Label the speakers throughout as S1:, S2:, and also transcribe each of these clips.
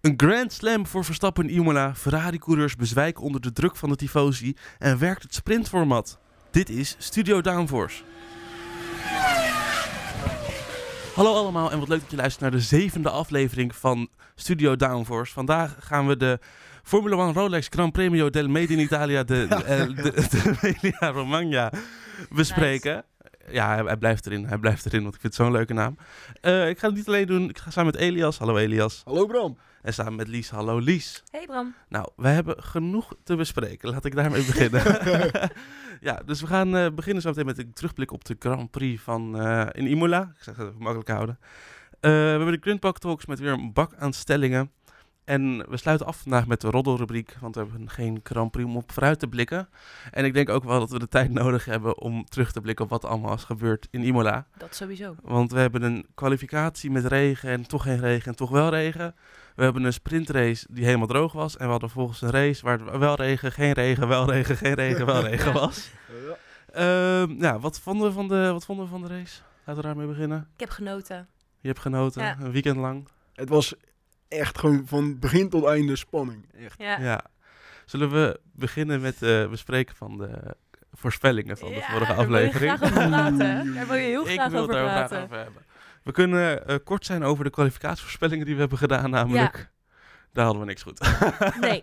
S1: Een Grand Slam voor Verstappen en Imola. Ferrari-coureurs bezwijken onder de druk van de tifosi en werkt het sprintformat. Dit is Studio Downforce. Hallo allemaal en wat leuk dat je luistert naar de zevende aflevering van Studio Downforce. Vandaag gaan we de Formula 1 Rolex Gran Premio del Made in Italia de, eh, de, de Emilia Romagna bespreken. Ja, hij, hij blijft erin, hij blijft erin, want ik vind het zo'n leuke naam. Eh, ik ga het niet alleen doen, ik ga samen met Elias. Hallo Elias.
S2: Hallo Bram.
S1: En samen met Lies. Hallo Lies.
S3: Hey Bram.
S1: Nou, we hebben genoeg te bespreken. Laat ik daarmee beginnen. ja, dus we gaan eh, beginnen zo meteen met een terugblik op de Grand Prix van eh, in Imola. Ik zeg dat even makkelijk houden. Eh, we hebben de Grindpak Talks met weer een bak aan stellingen. En we sluiten af vandaag met de roddelrubriek, want we hebben geen Grand Prix om op vooruit te blikken. En ik denk ook wel dat we de tijd nodig hebben om terug te blikken op wat allemaal is gebeurd in Imola.
S3: Dat sowieso.
S1: Want we hebben een kwalificatie met regen en toch geen regen en toch wel regen. We hebben een sprintrace die helemaal droog was. En we hadden volgens een race waar het wel regen, geen regen, wel regen, geen regen, wel regen was. Ehm, ja, wat vonden, we van de, wat vonden we van de race? Laten we daarmee beginnen.
S3: Ik heb genoten.
S1: Je hebt genoten,
S3: Ja.
S1: een weekend lang.
S2: Het was echt gewoon van begin tot einde spanning. Echt.
S3: Ja.
S1: Ja. Zullen we beginnen met het bespreken van de voorspellingen van de
S3: Ja,
S1: vorige
S3: daar wil je
S1: aflevering?
S3: graag over praten. Daar wil je heel graag
S1: Ik wil
S3: over
S1: daar
S3: praten.
S1: graag over hebben. We kunnen eh, kort zijn over de kwalificatievoorspellingen die we hebben gedaan, namelijk. Daar hadden we niks goed.
S3: Nee,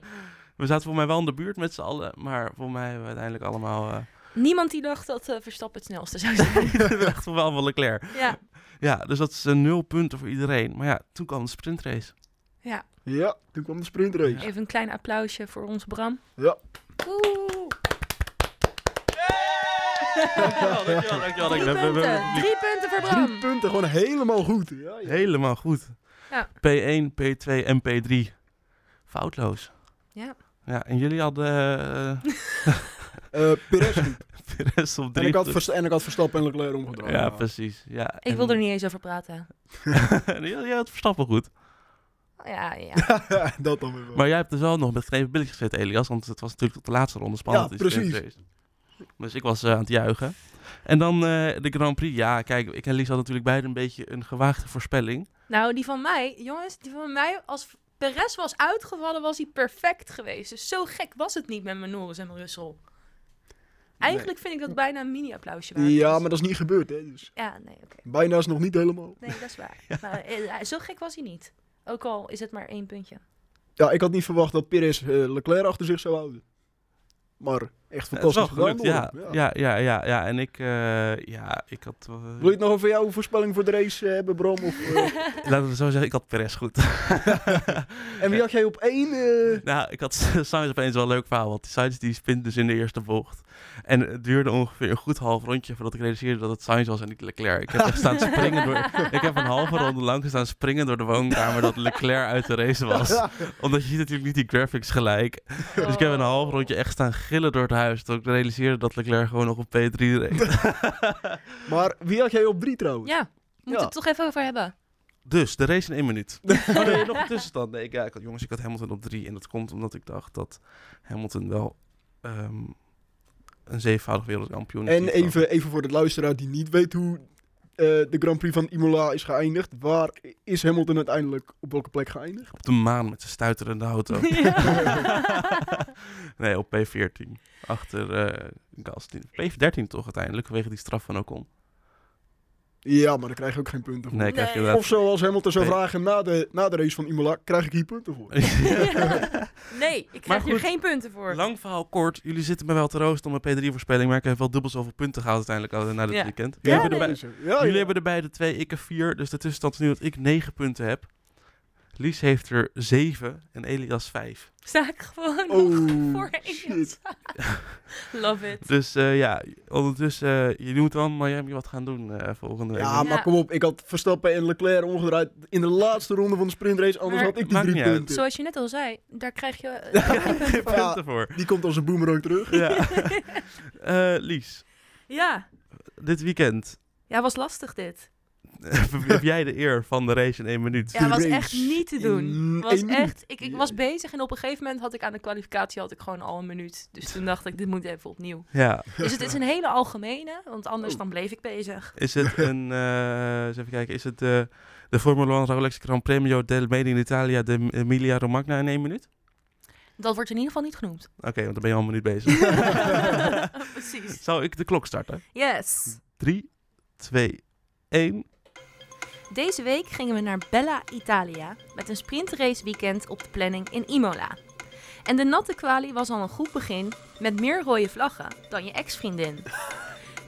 S1: We zaten voor mij wel in de buurt met z'n allen, maar voor mij hebben we uiteindelijk allemaal. eh
S3: niemand die dacht dat eh, Verstappen het snelste zou zijn.
S1: we dachten wel allemaal Leclerc.
S3: ja.
S1: Ja, dus dat is eh, nul punten voor iedereen. Maar ja, toen kwam de sprintrace.
S3: ja,
S2: Ja, toen kwam de sprintrace.
S3: even een klein applausje voor onze Bram.
S2: Ja.
S3: Oeh,
S1: dankjewel, dankjewel, dankjewel.
S3: drie
S1: We- we- we-
S3: punten.
S1: we-
S3: Drie punten voor
S2: Drie
S3: Bram.
S2: punten, gewoon helemaal goed. Ja, ja.
S1: Helemaal goed.
S3: Ja.
S1: P1, P2 en P3. Foutloos.
S3: Ja.
S1: Ja, en jullie hadden eh
S2: Eh, Perez goed.
S1: Perez op
S2: en,
S1: drie.
S2: ik had
S1: punten.
S2: Verst- en ik had Verstappen en Leclerc omgedraaid.
S1: ja, precies. Ja,
S3: Ik wil er niet eens over praten.
S1: jij had Verstappen goed.
S3: Ja, ja.
S2: Ja, dat dan weer wel.
S1: Maar jij hebt dus wel nog met geknepen billetjes gezeten, Elias. Want het was natuurlijk tot de laatste ronde spannend.
S2: Ja,
S1: die sprint
S2: precies.
S1: race. Dus ik was eh, aan het juichen. En dan eh, de Grand Prix. Ja, kijk, ik en Lies hadden natuurlijk beide een beetje een gewaagde voorspelling.
S3: Nou, die van mij, jongens, die van mij, als Perez was uitgevallen, was hij perfect geweest. Dus zo gek was het niet met mijn Norris en mijn Russell. Eigenlijk vind ik dat bijna een mini-applausje waard.
S2: ja,
S3: was.
S2: maar dat is niet gebeurd. Hè, dus.
S3: Ja, nee, oké.
S2: Bijna is nog niet helemaal.
S3: Nee, dat is waar. Maar, eh, zo gek was hij niet. Ook al is het maar één puntje.
S2: Ja, ik had niet verwacht dat Perez eh, Leclerc achter zich zou houden. Maar echt
S1: Het is
S2: fantastisch
S1: wel gelukt,
S2: gedaan
S1: ja.
S2: door hem.
S1: Ja, ja, ja, ja. En ik, eh, ja, ik had... eh,
S2: Wil je het nog over jouw voorspelling voor de race eh, hebben, Bram? Of,
S1: Dus
S2: eh,
S1: Laten we het zo zeggen, ik had Perez goed.
S2: en wie had jij op één? eh?
S1: nou, ik had Sainz opeens wel een leuk verhaal. Want die Sainz die spint dus in de eerste bocht. En het duurde ongeveer een goed half rondje voordat ik realiseerde dat het Sainz was en niet Leclerc. Ik heb echt staan springen door, Ik heb een halve ronde lang gestaan springen door de woonkamer dat Leclerc uit de race was. Omdat je ziet natuurlijk niet die graphics gelijk. Dus ik heb een half rondje echt staan gillen door het huis. Tot ik realiseerde dat Leclerc gewoon nog op P3 reed.
S2: Maar wie had jij op drie trouwens?
S3: Ja, we moeten
S2: Ja.
S3: het toch even over hebben.
S1: Dus, de race in één minuut. Oh nee, nog een tussenstand. Nee, ik, ja, ik had, jongens, ik had Hamilton op drie. En dat komt omdat ik dacht dat Hamilton wel ehm, een zevenvoudig wereldkampioen is.
S2: En even, even voor de luisteraar die niet weet hoe eh, de Grand Prix van Imola is geëindigd. Waar is Hamilton uiteindelijk op welke plek geëindigd?
S1: Op de maan met zijn stuiterende auto. Nee, op P14. Achter eh Gasly. P13 toch uiteindelijk, vanwege die straf van Ocon.
S2: Ja, maar daar krijg je ook geen punten voor.
S1: Nee, krijg je
S3: Nee.
S1: inderdaad...
S2: Of zoals Hamilton zou
S1: Nee.
S2: vragen na de, na de race van Imola, krijg ik hier punten voor.
S3: nee, ik
S1: Maar
S3: krijg hier
S1: goed,
S3: geen punten voor.
S1: Lang verhaal kort. Jullie zitten me wel te roosten om mijn P3-voorspelling, maar ik heb wel dubbel zoveel punten gehaald uiteindelijk al na dit
S3: Ja.
S1: weekend.
S3: Ja,
S1: jullie
S3: nee.
S1: hebben er bij-
S2: Ja, Oh, ja.
S1: jullie hebben er beide twee, ik er vier. Dus de tussenstand is nu dat ik negen punten heb. Lies heeft er zeven en Elias vijf.
S3: Sta ik gewoon nog voor
S2: Oh,
S3: één.
S2: shit.
S3: Love it.
S1: Dus eh, ja, ondertussen, eh, jullie moeten wel in Miami wat gaan doen eh, volgende
S2: Ja,
S1: week.
S2: maar kom op. Ik had Verstappen en Leclerc omgedraaid in de laatste ronde van de sprintrace. Anders
S3: Maar-
S2: had ik die
S1: Maakt
S2: drie
S1: niet uit.
S2: punten.
S3: Zoals je net al zei, daar krijg je eh, geen punten voor.
S2: Ja.
S1: punten voor.
S2: Die komt als een boemerang terug.
S1: Ja. Eh, Lies,
S3: Ja.
S1: dit weekend
S3: ja, was lastig dit.
S1: heb jij de eer van de race in één minuut.
S3: Ja, was
S2: race
S3: echt niet te doen.
S2: in
S3: Was
S2: één
S3: echt, ik, ik
S2: Ja.
S3: was bezig en op een gegeven moment had ik aan de kwalificatie had ik gewoon al een minuut. Dus toen dacht ik, dit moet even opnieuw.
S1: Ja,
S3: Dus het is een hele algemene, want anders dan bleef ik bezig.
S1: is het een. eh, eens even kijken, is het. eh, De Formula 1 Rolex Gran Premio del Made in Italia de Emilia Romagna in één minuut?
S3: Dat wordt in ieder geval niet genoemd.
S1: Oké, want dan ben je al een minuut bezig.
S3: Precies.
S1: Zou ik de klok starten?
S3: Yes.
S1: 3, 2, 1.
S3: Deze week gingen we naar Bella Italia met een sprintrace weekend op de planning in Imola. En de natte kwalie was al een goed begin met meer rode vlaggen dan je ex-vriendin.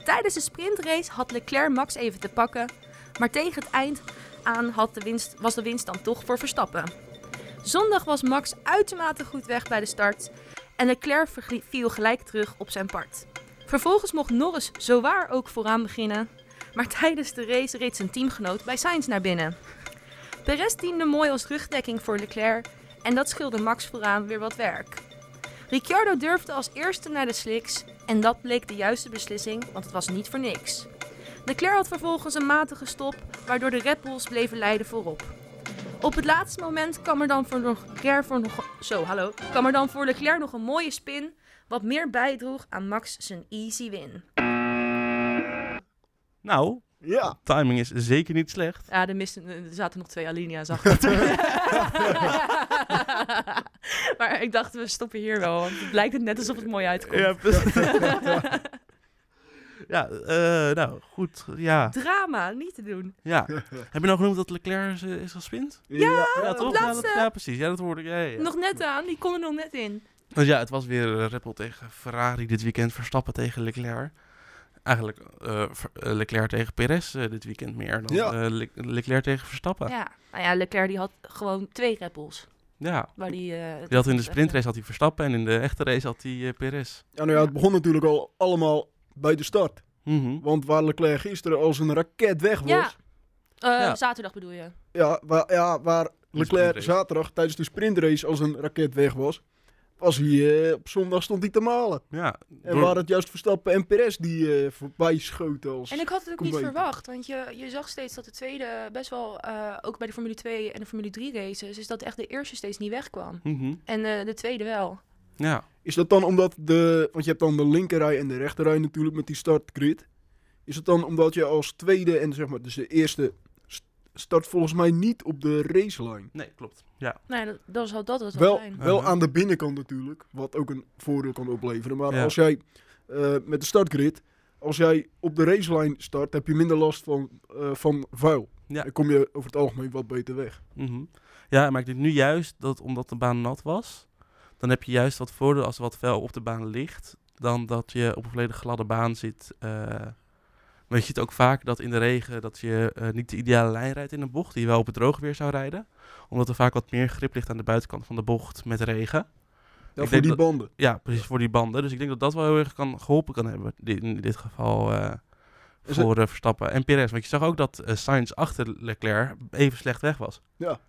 S3: Tijdens de sprintrace had Leclerc Max even te pakken, maar tegen het eind aan had de winst, was de winst dan toch voor Verstappen. Zondag was Max uitermate goed weg bij de start en Leclerc vergli- viel gelijk terug op zijn part. Vervolgens mocht Norris zowaar ook vooraan beginnen, maar tijdens de race reed zijn teamgenoot bij Sainz naar binnen. Perez diende mooi als rugdekking voor Leclerc en dat scheelde Max vooraan weer wat werk. Ricciardo durfde als eerste naar de slicks en dat bleek de juiste beslissing, want het was niet voor niks. Leclerc had vervolgens een matige stop, waardoor de Red Bulls bleven leiden voorop. Op het laatste moment kwam er dan voor Leclerc voor nog, zo, hallo, kwam er dan voor Leclerc nog een mooie spin, wat meer bijdroeg aan Max zijn easy win.
S1: Nou,
S2: Ja.
S1: timing is zeker niet slecht.
S3: Ja, er, misten, er zaten nog twee alinea's achter. maar ik dacht, we stoppen hier wel. Want het lijkt het net alsof het mooi uitkomt.
S1: Ja, precies. ja eh, nou, goed. Ja.
S3: Drama, niet te doen.
S1: ja. Heb je nou genoemd dat Leclerc is, is gespint?
S2: Ja.
S1: Ja,
S3: op
S1: toch? Ja,
S3: laatste.
S1: dat, ja, precies. Ja, dat hoorde ik. Ja, ja, ja.
S3: Nog net aan, die kon er nog net in.
S1: Dus ja, het was weer eh, Red Bull tegen Ferrari dit weekend. Verstappen tegen Leclerc. Eigenlijk eh, Ver- eh, Leclerc tegen Perez eh, dit weekend meer dan
S2: Ja.
S1: eh, Le- Leclerc tegen Verstappen. Ja.
S3: Ja, nou ja, Leclerc die had gewoon twee rappels. Waar die, eh,
S1: Die had in de sprintrace had hij Verstappen en in de echte race had hij eh, Perez.
S2: Ja, nou ja, het begon natuurlijk al allemaal bij de start.
S1: Mhm.
S2: Want waar Leclerc gisteren als een raket weg was...
S3: Ja. Eh,
S1: Ja.
S3: Zaterdag bedoel je.
S2: Ja, waar, ja, waar Leclerc
S1: sprintrace.
S2: zaterdag tijdens de sprintrace als een raket weg was... was hij, eh, op zondag stond hij te malen.
S1: Ja,
S2: En
S1: door-
S2: waren het juist Verstappen en Perez die eh, voorbij schoten als...
S3: En ik had het ook
S2: Kom
S3: niet
S2: bij.
S3: verwacht, want je, je zag steeds dat de tweede best wel, eh, ook bij de Formule 2 en de Formule 3 races, is dat echt de eerste steeds niet wegkwam.
S1: Mhm.
S3: En eh, de tweede wel.
S1: Ja.
S2: Is dat dan omdat de... Want je hebt dan de linkerrij en de rechterrij natuurlijk met die startgrid. Is het dan omdat je als tweede en zeg maar dus de eerste... st- start volgens mij niet op de racelijn.
S1: Nee, klopt. Ja.
S3: Nou, ja, dat, dat zal dat het wel
S2: Wel,
S3: zijn.
S2: wel
S1: Uh-huh.
S2: aan de binnenkant natuurlijk, wat ook een voordeel kan opleveren. Maar
S1: Ja.
S2: als jij eh, met de startgrid, als jij op de racelijn start, heb je minder last van, eh, van vuil.
S1: Ja.
S2: Dan kom je over het algemeen wat beter weg.
S1: Mhm. Ja, maar ik denk nu juist dat omdat de baan nat was, dan heb je juist wat voordeel als er wat vuil op de baan ligt, dan dat je op een volledig gladde baan zit. eh want je ziet ook vaak dat in de regen dat je eh, niet de ideale lijn rijdt in een bocht, die je wel op het droge weer zou rijden. Omdat er vaak wat meer grip ligt aan de buitenkant van de bocht met regen.
S2: Ja,
S1: Ik
S2: voor
S1: denk
S2: die
S1: dat-
S2: banden.
S1: Ja, precies, voor die banden. Dus ik denk dat dat wel heel erg kan, geholpen kan hebben, di- in dit geval... eh,
S2: Is het-
S1: voor eh, Verstappen en Perez. Want je zag ook dat eh, Sainz achter Leclerc even slecht weg was.
S2: Ja.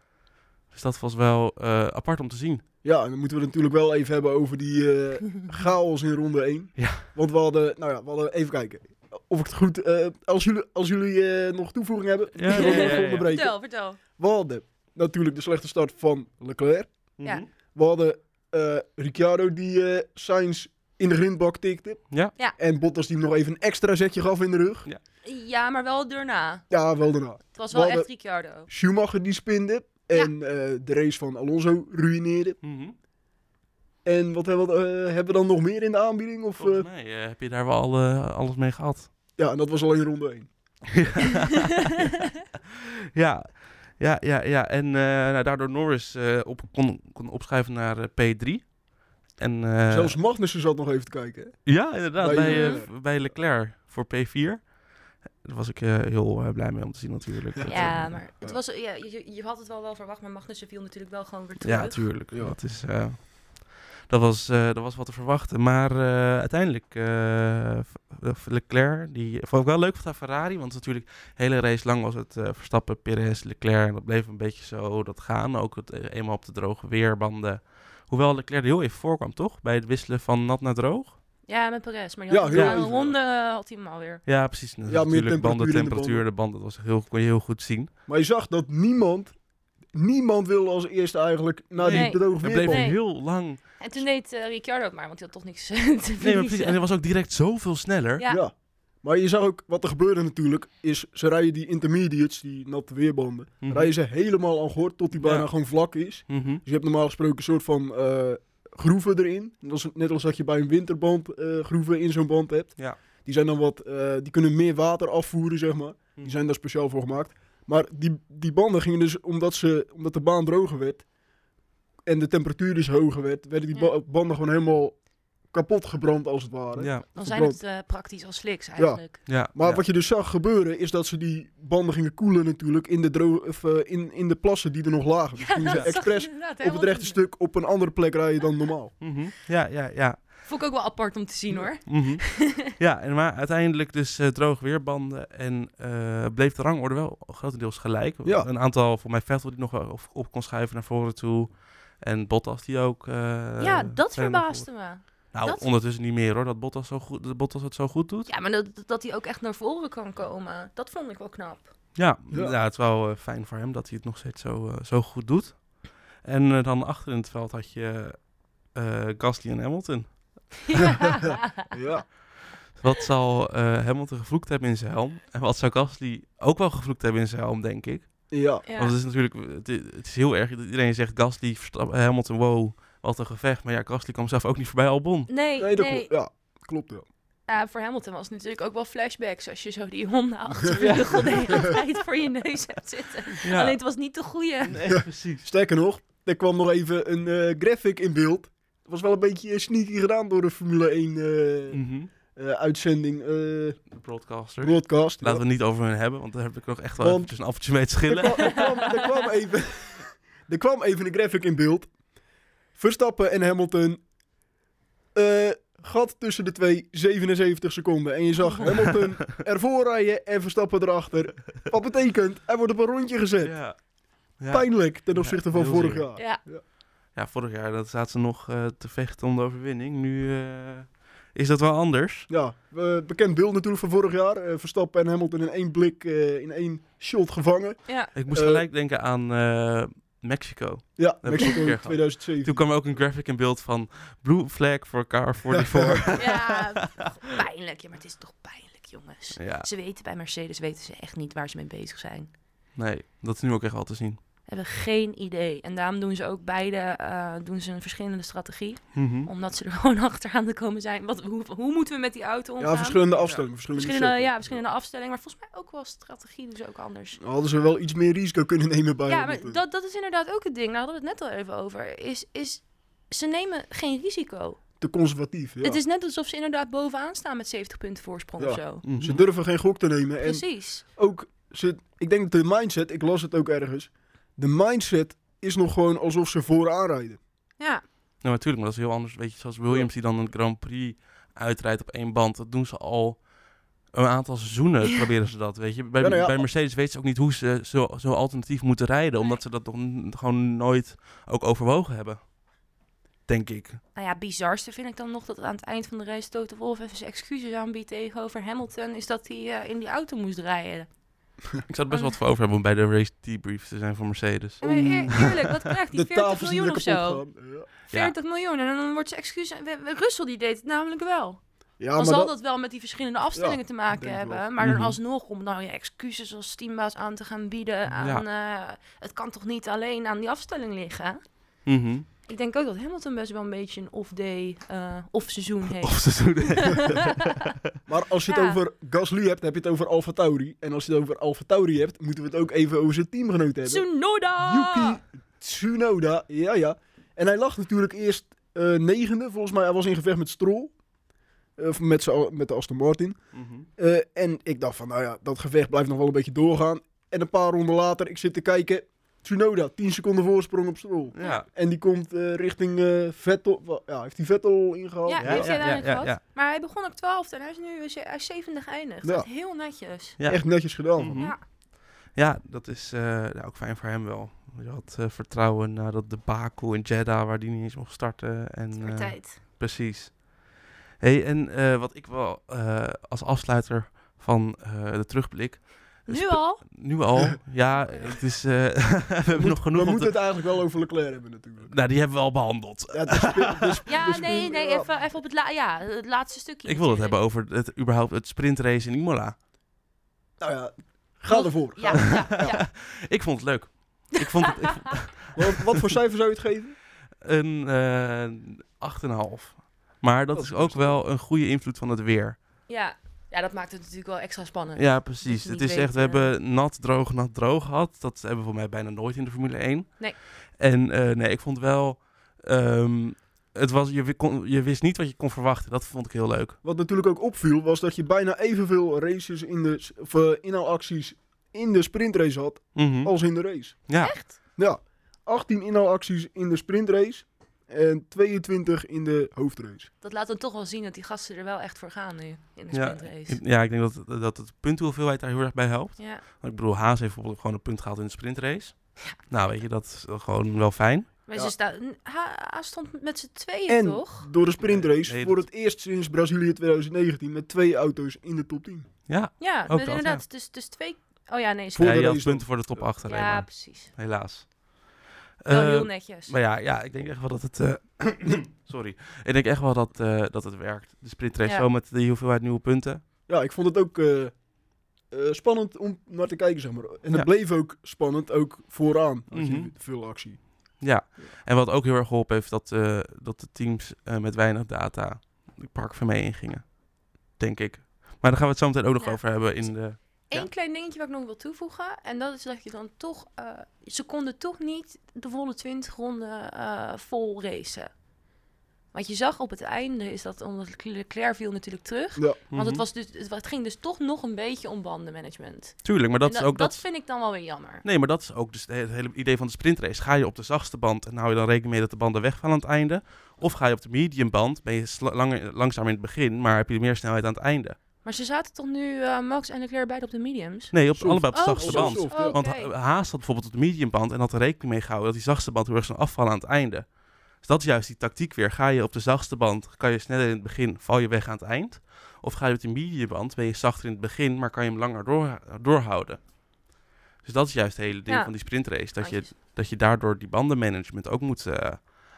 S1: Dus dat was wel eh, apart om te zien.
S2: ja, en dan moeten we het natuurlijk wel even hebben over die eh, chaos in ronde 1.
S1: Ja.
S2: Want we hadden, nou ja, we hadden even kijken. Of ik het goed, eh, als jullie, als jullie eh, nog toevoeging hebben,
S1: Ja,
S2: dan
S3: ja, ja,
S2: even
S1: ja.
S2: onderbreken.
S3: Vertel, vertel.
S2: We hadden natuurlijk de slechte start van Leclerc.
S3: Ja.
S1: Mhm.
S2: We hadden eh, Ricciardo die eh Sainz in de grindbak tikte.
S1: Ja.
S3: Ja.
S2: En Bottas die hem nog even een extra zetje gaf in de rug.
S3: Ja, maar wel daarna.
S2: Ja, wel daarna.
S3: Het was wel
S2: Wel de-
S3: echt Ricciardo.
S2: Schumacher die spinde. En eh, de race van Alonso ruïneerde.
S1: Mhm.
S2: En wat hebben we, eh, hebben we dan nog meer in de aanbieding? Of,
S1: Volgens
S2: eh,
S1: mij eh, heb je daar wel al, eh, alles mee gehad.
S2: ja, en dat was alleen ronde 1.
S1: ja. Ja, ja, ja. En eh, nou, daardoor Norris eh, op, kon, kon opschuiven naar eh, P3. En, eh,
S2: Zelfs Magnussen zat nog even te kijken. hè.
S1: Ja, inderdaad.
S2: bij,
S1: Bij, eh,
S3: eh,
S1: v- bij Leclerc voor P4. Daar was ik eh, heel eh, blij mee om te zien natuurlijk. Dat,
S3: Ja,
S1: eh,
S3: maar het
S2: Ja.
S3: was, ja, je, je had het wel wel verwacht, maar Magnussen viel natuurlijk wel gewoon weer terug.
S1: Ja, tuurlijk.
S2: Ja.
S1: Dat, is, eh, dat, was, eh, dat was wat te verwachten. Maar eh, uiteindelijk, eh, v- v- Leclerc, die vond ik wel leuk van Ferrari. Want natuurlijk, de hele race lang was het eh, Verstappen, Perez, Leclerc. En dat bleef een beetje zo dat gaan. Ook het, eh, eenmaal op de droge weerbanden. Hoewel Leclerc er heel even voorkwam, toch? Bij het wisselen van nat naar droog.
S3: ja, met Perez. Maar die
S2: Ja,
S3: had
S1: heel
S3: ja, een
S2: even.
S3: ronde eh, had hij hem alweer.
S1: Ja, precies. Ja,
S2: meer
S1: natuurlijk,
S2: temperatuur
S1: banden,
S2: in de
S1: temperatuur, de banden. Dat was heel, kon je heel goed zien.
S2: Maar je zag dat niemand, niemand wilde als eerste eigenlijk naar
S3: Nee.
S2: die droge
S1: Het bleef
S2: weerbal.
S3: Nee.
S1: heel lang.
S3: En toen deed eh, Ricciardo het maar, want hij had toch niks eh, te
S1: Nee, maar precies.
S3: verliezen.
S1: En hij was ook direct zoveel sneller.
S3: Ja.
S2: Ja. Maar je zag ook wat er gebeurde natuurlijk, is ze rijden die intermediates, die natte weerbanden,
S1: Mhm.
S2: rijden ze helemaal aan gehoord tot die bijna
S1: Ja.
S2: gewoon vlak is.
S1: Mhm.
S2: Dus je hebt normaal gesproken een soort van eh, groeven erin. Net als, net als dat je bij een winterband eh, groeven in zo'n band hebt.
S1: Ja.
S2: Die zijn dan wat, eh, die kunnen meer water afvoeren, zeg maar.
S1: Mhm.
S2: Die zijn daar speciaal voor gemaakt. Maar die, die banden gingen dus, omdat, ze, omdat de baan droger werd en de temperatuur dus hoger werd, werden die
S3: Ja.
S2: ba- banden gewoon helemaal kapot gebrand als het ware.
S1: Ja,
S3: Dan zijn het eh, praktisch als sliks eigenlijk.
S1: ja.
S2: Maar
S1: ja.
S2: wat je dus zag gebeuren, is dat ze die banden gingen koelen natuurlijk in de, dro- of, eh, in, in de plassen die er nog lagen. Dus gingen ze
S3: dat zag je
S2: expres
S3: inderdaad
S2: op
S3: helemaal
S2: het rechte
S3: niet.
S2: stuk op een andere plek rijden dan normaal.
S1: Mhm. ja, ja, ja.
S3: Vond ik ook wel apart om te zien hoor.
S1: Mhm. ja, en maar uiteindelijk dus eh, droog weerbanden en eh, bleef de rangorde wel grotendeels gelijk.
S2: Ja.
S1: Een aantal, voor mij Vettel die nog wel op, op kon schuiven naar voren toe. En Bottas die ook. eh,
S4: ja, dat
S1: verder naar
S4: verbaasde me.
S1: voren- Nou,
S4: dat-
S1: ondertussen niet meer hoor, dat Bottas, zo goed, dat Bottas het zo goed doet.
S4: Ja, maar dat, dat hij ook echt naar voren kan komen. Dat vond ik wel knap.
S1: Ja,
S2: Ja.
S1: ja. het is wel eh, fijn voor hem dat hij het nog steeds zo, eh, zo goed doet. En eh, dan achter in het veld had je eh, Gasly en Hamilton.
S2: Ja,
S1: Wat zal eh, Hamilton gevloekt hebben in zijn helm? En wat zou Gasly ook wel gevloekt hebben in zijn helm, denk ik?
S2: ja.
S3: Ja.
S1: Want het is natuurlijk, het is, het is heel erg. Iedereen zegt Gasly, Verstappen, Hamilton, wow, wat een gevecht. Maar ja, Gasly kwam zelf ook niet voorbij Albon.
S4: Nee, nee.
S2: Nee, dat klopt. Ja, klopt wel.
S3: Ja, voor Hamilton was het natuurlijk ook wel flashbacks als je zo die honden achter je vleugel de hele tijd voor je neus hebt zitten.
S1: Ja,
S3: Alleen het was niet de goede.
S1: nee, precies.
S2: Sterker nog, er kwam nog even een eh, graphic in beeld. Dat was wel een beetje eh, sneaky gedaan door de Formule 1 eh,
S1: Mhm.
S2: eh, uitzending, eh
S1: De broadcaster.
S2: broadcast.
S1: Laten
S2: Ja.
S1: we het niet over hun hebben, want daar heb ik nog echt wel
S2: Want-
S1: eventjes een appeltje mee te
S2: er,
S1: schillen.
S2: kwam, er, kwam, er kwam even, er kwam even een graphic in beeld. Verstappen en Hamilton. Eh, gat tussen de twee, 77 seconden. En je zag Hamilton ervoor rijden en Verstappen erachter. Wat betekent, hij wordt op een rondje gezet.
S1: Ja. Ja.
S2: Pijnlijk ten
S1: Ja,
S2: opzichte van
S1: heel
S2: vorig
S1: zeer.
S2: jaar.
S3: Ja,
S1: ja, vorig jaar dat zaten ze nog eh, te vechten om de overwinning. Nu eh, is dat wel anders.
S2: Ja, eh, bekend beeld natuurlijk van vorig jaar. Eh, Verstappen en Hamilton in één blik, eh, in één shot gevangen.
S3: ja.
S1: Ik moest
S2: Eh,
S1: gelijk denken aan eh, Mexico.
S2: Ja,
S1: heb ik ook een
S2: Mexico
S1: keer gehad.
S2: 2007.
S1: Toen kwam er ook een graphic in beeld van Blue Flag voor Car 44.
S3: ja. Pijnlijk. Ja, maar het is toch pijnlijk, jongens.
S1: ja,
S3: Ze weten bij Mercedes weten ze echt niet waar ze mee bezig zijn.
S1: nee, dat is nu ook echt wel te zien.
S3: Hebben geen idee. En daarom doen ze ook beide eh, doen ze een verschillende strategie.
S1: Mhm.
S3: Omdat ze er gewoon achteraan te komen zijn. Wat, hoe, hoe moeten we met die auto omgaan?
S2: Ja, verschillende afstellingen. Verschillende,
S3: verschillende,
S2: shots.
S3: ja, verschillende afstellingen. Maar volgens mij ook wel strategie doen ze ook anders.
S2: Hadden ze wel iets meer risico kunnen nemen bij
S3: Ja,
S2: Hamilton.
S3: maar dat, dat is inderdaad ook het ding. Daar hadden we het net al even over. Is, is, ze nemen geen risico.
S2: Te conservatief, ja.
S3: Het is net alsof ze inderdaad bovenaan staan met 70 punten voorsprong
S2: Ja.
S3: of zo.
S1: Mhm.
S2: Ze durven geen gok te nemen. En
S3: Precies.
S2: ook, ze, ik denk dat de mindset, ik las het ook ergens. De mindset is nog gewoon alsof ze vooraan rijden.
S3: Ja.
S1: Nou, natuurlijk, maar dat is heel anders. Weet je, zoals Williams die dan een Grand Prix uitrijdt op één band, dat doen ze al een aantal seizoenen. Proberen ze dat, weet je. Bij,
S2: Ja, nou ja.
S1: bij Mercedes weten ze ook niet hoe ze zo, zo alternatief moeten rijden, omdat ze dat nog n- gewoon nooit ook overwogen hebben. Denk ik.
S3: Nou ja, bizarste vind ik dan nog dat aan het eind van de race Toto Wolff even zijn excuses aanbiedt tegenover Hamilton. Is dat hij eh, in die auto moest rijden.
S1: Ik zou er best wat voor over hebben om bij de race debriefs te zijn voor Mercedes.
S3: Ja, maar eer- eerlijk, wat krijgt die
S2: De
S3: 40
S2: tafels die
S3: miljoen
S2: er
S3: of
S2: kapot
S3: zo?
S2: gaan. Ja,
S3: 40 miljoen. En dan wordt zijn excuus... we- we- Russell die deed het namelijk wel.
S2: ja
S3: Dan
S2: Ah, maar
S3: zal
S2: dat,
S3: dat wel met die verschillende afstellingen
S2: Ja,
S3: te
S2: ik denk
S3: maken
S2: het
S3: hebben.
S2: wel.
S3: Maar dan
S1: Mhm.
S3: alsnog om nou je excuses als teambaas aan te gaan bieden. Aan, eh, het kan toch niet alleen aan die afstelling liggen?
S1: Mhm.
S3: Ik denk ook dat Hamilton best wel een beetje een off-day, eh off-seizoen
S1: Of
S3: heeft.
S1: ze doen
S2: maar als je het
S3: Ja.
S2: over Gasly hebt, heb je het over Alfa Tauri. En als je het over Alfa Tauri hebt, moeten we het ook even over zijn teamgenoot hebben.
S3: Tsunoda!
S2: Yuki Tsunoda, ja ja. En hij lag natuurlijk eerst eh, negende, volgens mij. Hij was in gevecht met Stroll. Of met, z'n- met de Aston Martin.
S1: Mhm.
S2: Eh, en ik dacht van, nou ja, dat gevecht blijft nog wel een beetje doorgaan. En een paar ronden later, ik zit te kijken. Tsunoda, 10 seconden voorsprong op Stroll.
S1: Ja.
S2: En die komt eh, richting eh, Vettel. Wa- Ja, heeft hij Vettel ingehaald?
S3: Ja,
S1: Ja,
S3: heeft
S1: ja,
S3: hij
S1: ja,
S3: uiteindelijk
S1: ja,
S3: gehad.
S1: ja.
S3: Maar hij begon op 12 en hij is nu is hij hij is zevende geëindigd.
S2: Ja.
S3: Dat is heel netjes.
S1: ja.
S2: Echt netjes gedaan.
S1: Mhm.
S3: Ja.
S1: Ja, dat is eh, nou, ook fijn voor hem wel. Je had eh, vertrouwen na dat debakel in Jeddah, waar die niet eens mocht starten. En,
S3: Voor
S1: eh,
S3: tijd.
S1: precies. Hey, en eh, wat ik wel eh, als afsluiter van eh, de terugblik
S4: Nu al?
S1: Nu al. Ja, het is, eh, we hebben nog genoeg.
S2: We
S1: om
S2: moeten
S1: te-
S2: het eigenlijk wel over Leclerc hebben natuurlijk.
S1: Nou, die hebben we al behandeld.
S2: Ja, het is spin- dus-
S4: Ja,
S2: dus-
S4: nee, nee,
S2: ja.
S4: even, even op het, la- ja, het laatste stukje.
S1: Ik wil het hebben
S4: natuurlijk.
S1: over het, überhaupt het sprintrace in Imola.
S2: Nou ja, ga ervoor.
S4: Ja, Oh, ja, ja.
S1: Ik vond het leuk. Ik vond het ik vond-
S2: Wat, wat voor cijfer zou je het geven?
S1: een eh 8,5. Maar dat
S2: Dat
S1: is
S2: is
S1: ook
S2: best.
S1: wel een goede invloed van het weer.
S4: ja.
S3: Ja, dat maakt het natuurlijk wel extra spannend.
S1: Ja,
S4: Dat
S1: precies.
S4: je
S1: Het
S4: niet
S1: is echt, we
S4: weet, eh,
S1: hebben nat, droog, nat, droog gehad. Dat hebben we voor mij bijna nooit in de Formule 1.
S4: Nee.
S1: En eh, nee, ik vond wel... ehm, het was, je, wi- kon, je wist niet wat je kon verwachten. Dat vond ik heel leuk.
S2: Wat natuurlijk ook opviel was dat je bijna evenveel races in de, s- of, eh, inhaalacties in de sprintrace had
S1: Mhm.
S4: Oh,
S2: als in de race.
S1: ja.
S2: Ja, 18 inhaalacties in de sprintrace en 22 in de hoofdrace.
S3: Dat laat dan toch wel zien dat die gasten er wel echt voor gaan nu in de
S1: Ja,
S3: sprintrace.
S1: ik- ja, ik denk dat, dat het puntenhoeveelheid daar heel erg bij helpt.
S3: Ja.
S1: Want ik bedoel, Haas heeft bijvoorbeeld gewoon een punt gehaald in de sprintrace. Nou, weet je, dat is gewoon wel fijn.
S3: Maar
S2: Ja.
S3: ze staan, Ha- hij stond met z'n tweeën
S2: En
S3: toch?
S2: door de sprintrace
S1: Nee, nee,
S2: voor
S1: dat-
S2: het eerst sinds Brazilië 2019 met twee auto's in de top 10.
S1: Ja,
S3: Ja,
S1: dat,
S3: dus inderdaad. Dus, dus twee... Oh ja, nee. ze-
S2: Voor
S1: ja
S2: de
S1: je had
S2: race dan.
S1: punten voor de top 8 alleen
S3: Ja,
S1: maar.
S3: precies.
S1: Helaas.
S3: Wel
S1: Eh,
S3: heel netjes.
S1: Maar ja, ja, ik denk echt wel dat het. eh, sorry. Ik denk echt wel dat, eh, dat het werkt. De sprintrace
S3: Ja.
S1: zo met de hoeveelheid nieuwe punten.
S2: Ja, ik vond het ook eh, eh, spannend om naar te kijken, zeg maar. En het
S1: Ja.
S2: bleef ook spannend, ook vooraan, had je
S1: Mhm.
S2: veel actie.
S1: Ja. En wat ook heel erg geholpen heeft, dat, eh, dat de teams eh, met weinig data de park van mee ingingen. Denk ik. Maar daar gaan we het zo meteen ook nog
S3: Ja.
S1: over hebben in de.
S3: Eén
S1: Ja.
S3: klein dingetje wat ik nog wil toevoegen. En dat is dat je dan toch... eh, ze konden toch niet de volle 20 ronden eh, vol racen. Wat je zag op het einde is dat... Omdat Leclerc viel natuurlijk terug.
S2: Ja,
S1: Mhm.
S3: Want het, was dus, het wa- het ging dus toch nog een beetje om bandenmanagement.
S1: Tuurlijk, maar dat,
S3: En
S1: is ook.
S3: dat
S1: Dat,
S3: vind ik dan wel weer jammer.
S1: Nee, maar dat is ook dus de- het hele idee van de sprintrace. Ga je op de zachtste band en hou je dan rekening mee dat de banden wegvallen aan het einde? Of ga je op de medium band, ben je sla- langer, langzaam in het begin, maar heb je meer snelheid aan het einde?
S3: Maar ze zaten toch nu, eh, Max en Leclerc, beide op de mediums?
S1: Nee, op,
S2: Soft.
S1: allebei op de
S3: Oh,
S1: zachtste
S2: soft,
S1: band.
S2: soft, ja.
S1: Want eh,
S3: Oké.
S1: Ha- Haas had bijvoorbeeld op de mediumband en had er rekening mee gehouden dat die zachtste band heel erg zou afvallen aan het einde. Dus dat is juist die tactiek weer. Ga je op de zachtste band, kan je sneller in het begin, val je weg aan het eind. Of ga je op de mediumband, ben je zachter in het begin, maar kan je hem langer door, doorhouden. Dus dat is juist het hele ding
S3: Ja.
S1: van die sprintrace. Dat je,
S3: Handjes.
S1: dat je daardoor die bandenmanagement ook moet eh,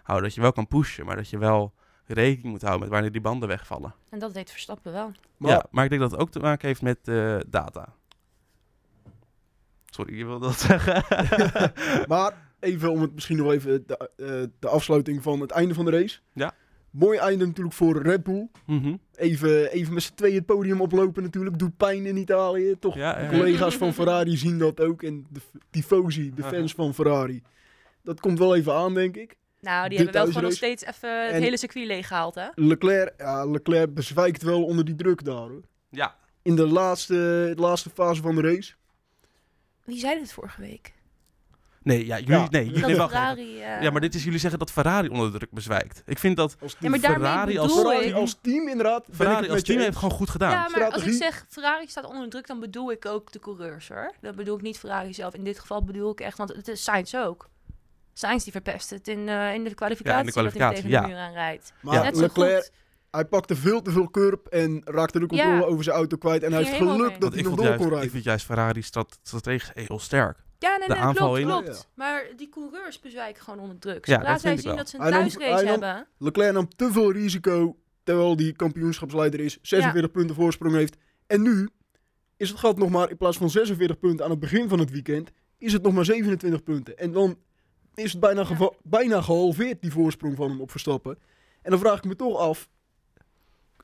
S1: houden. Dat je wel kan pushen, maar dat je wel rekening moet houden met wanneer die banden wegvallen.
S3: En dat deed Verstappen wel.
S2: maar
S1: ja, maar ik denk dat het ook te maken heeft met eh, data. Sorry, je wilde dat zeggen.
S2: Maar even om het misschien nog even de, eh, de afsluiting van het einde van de race.
S1: Ja.
S2: Mooi einde natuurlijk voor Red Bull.
S1: Mhm.
S2: Even, even met z'n tweeën het podium oplopen natuurlijk. Doet pijn in Italië. Toch
S1: Ja,
S2: de
S1: ja.
S2: collega's van Ferrari zien dat ook. En de f- tifosi, de fans van Ferrari. Dat komt wel even aan, denk ik.
S3: Nou, die
S2: De
S3: hebben wel gewoon nog
S2: thuisrace.
S3: steeds even het
S2: En-
S3: hele circuit leeggehaald, hè?
S2: Leclerc, ja, Leclerc bezwijkt wel onder die druk daar. Hoor.
S1: Ja.
S2: In de laatste, de laatste fase van de race.
S3: Wie zei dit vorige week?
S1: Nee, ja, jullie,
S2: Ja.
S1: nee, jullie,
S3: Dat
S1: nee, wacht even.
S3: Ferrari... eh,
S1: Ja, maar dit is jullie zeggen dat Ferrari onder de druk bezwijkt. Ik vind dat
S2: Als team.
S3: Ja, maar daarmee
S1: Ferrari als-
S3: bedoel
S2: Ferrari
S3: ik...
S2: als team inderdaad. ben ik het
S1: Ferrari
S2: met
S1: als
S2: je
S1: team
S2: eens.
S1: heeft gewoon goed gedaan.
S3: Ja, maar als ik
S2: Strategie.
S3: zeg Ferrari staat onder druk, dan bedoel ik ook de coureurs, hoor. Dat bedoel ik niet Ferrari zelf. In dit geval bedoel ik echt, want het is Sainz ook. Sainz die verpest het in, eh, in de kwalificatie, dat hij
S1: kwalificatie,
S3: hem tegen
S1: ja.
S3: de muur aanrijdt.
S1: Ja.
S2: Maar
S3: Net zo
S2: Leclerc,
S3: goed.
S2: Hij pakte veel te veel curb en raakte de controle
S3: Ja.
S2: over zijn auto kwijt. En hij
S3: Ging
S2: heeft
S3: helemaal
S2: geluk
S3: mee.
S2: dat
S1: Want
S2: hij
S1: ik,
S2: nog
S1: vond
S2: door
S1: juist,
S2: kon
S1: ik
S2: rijden.
S1: vind juist Ferrari strat- strategisch heel sterk.
S3: Ja, nee,
S1: De
S3: nee,
S1: aanval
S3: klopt,
S1: in-
S3: klopt.
S2: Ja.
S3: Maar die coureurs bezwijken gewoon onder druk.
S1: Ja,
S3: Zodra
S1: dat
S3: zij
S1: vind ik
S3: zien
S1: wel.
S3: dat ze een
S2: Hij nam-
S3: thuisrace
S2: hij nam-
S3: hebben...
S2: Leclerc nam te veel risico terwijl hij kampioenschapsleider is. 46 punten voorsprong heeft. En nu is het gat nog maar, in plaats van 46 punten aan het begin van het weekend, is het nog maar 27 punten. En dan is het bijna, geva- bijna gehalveerd, die voorsprong van hem op Verstappen. En dan vraag ik me toch af,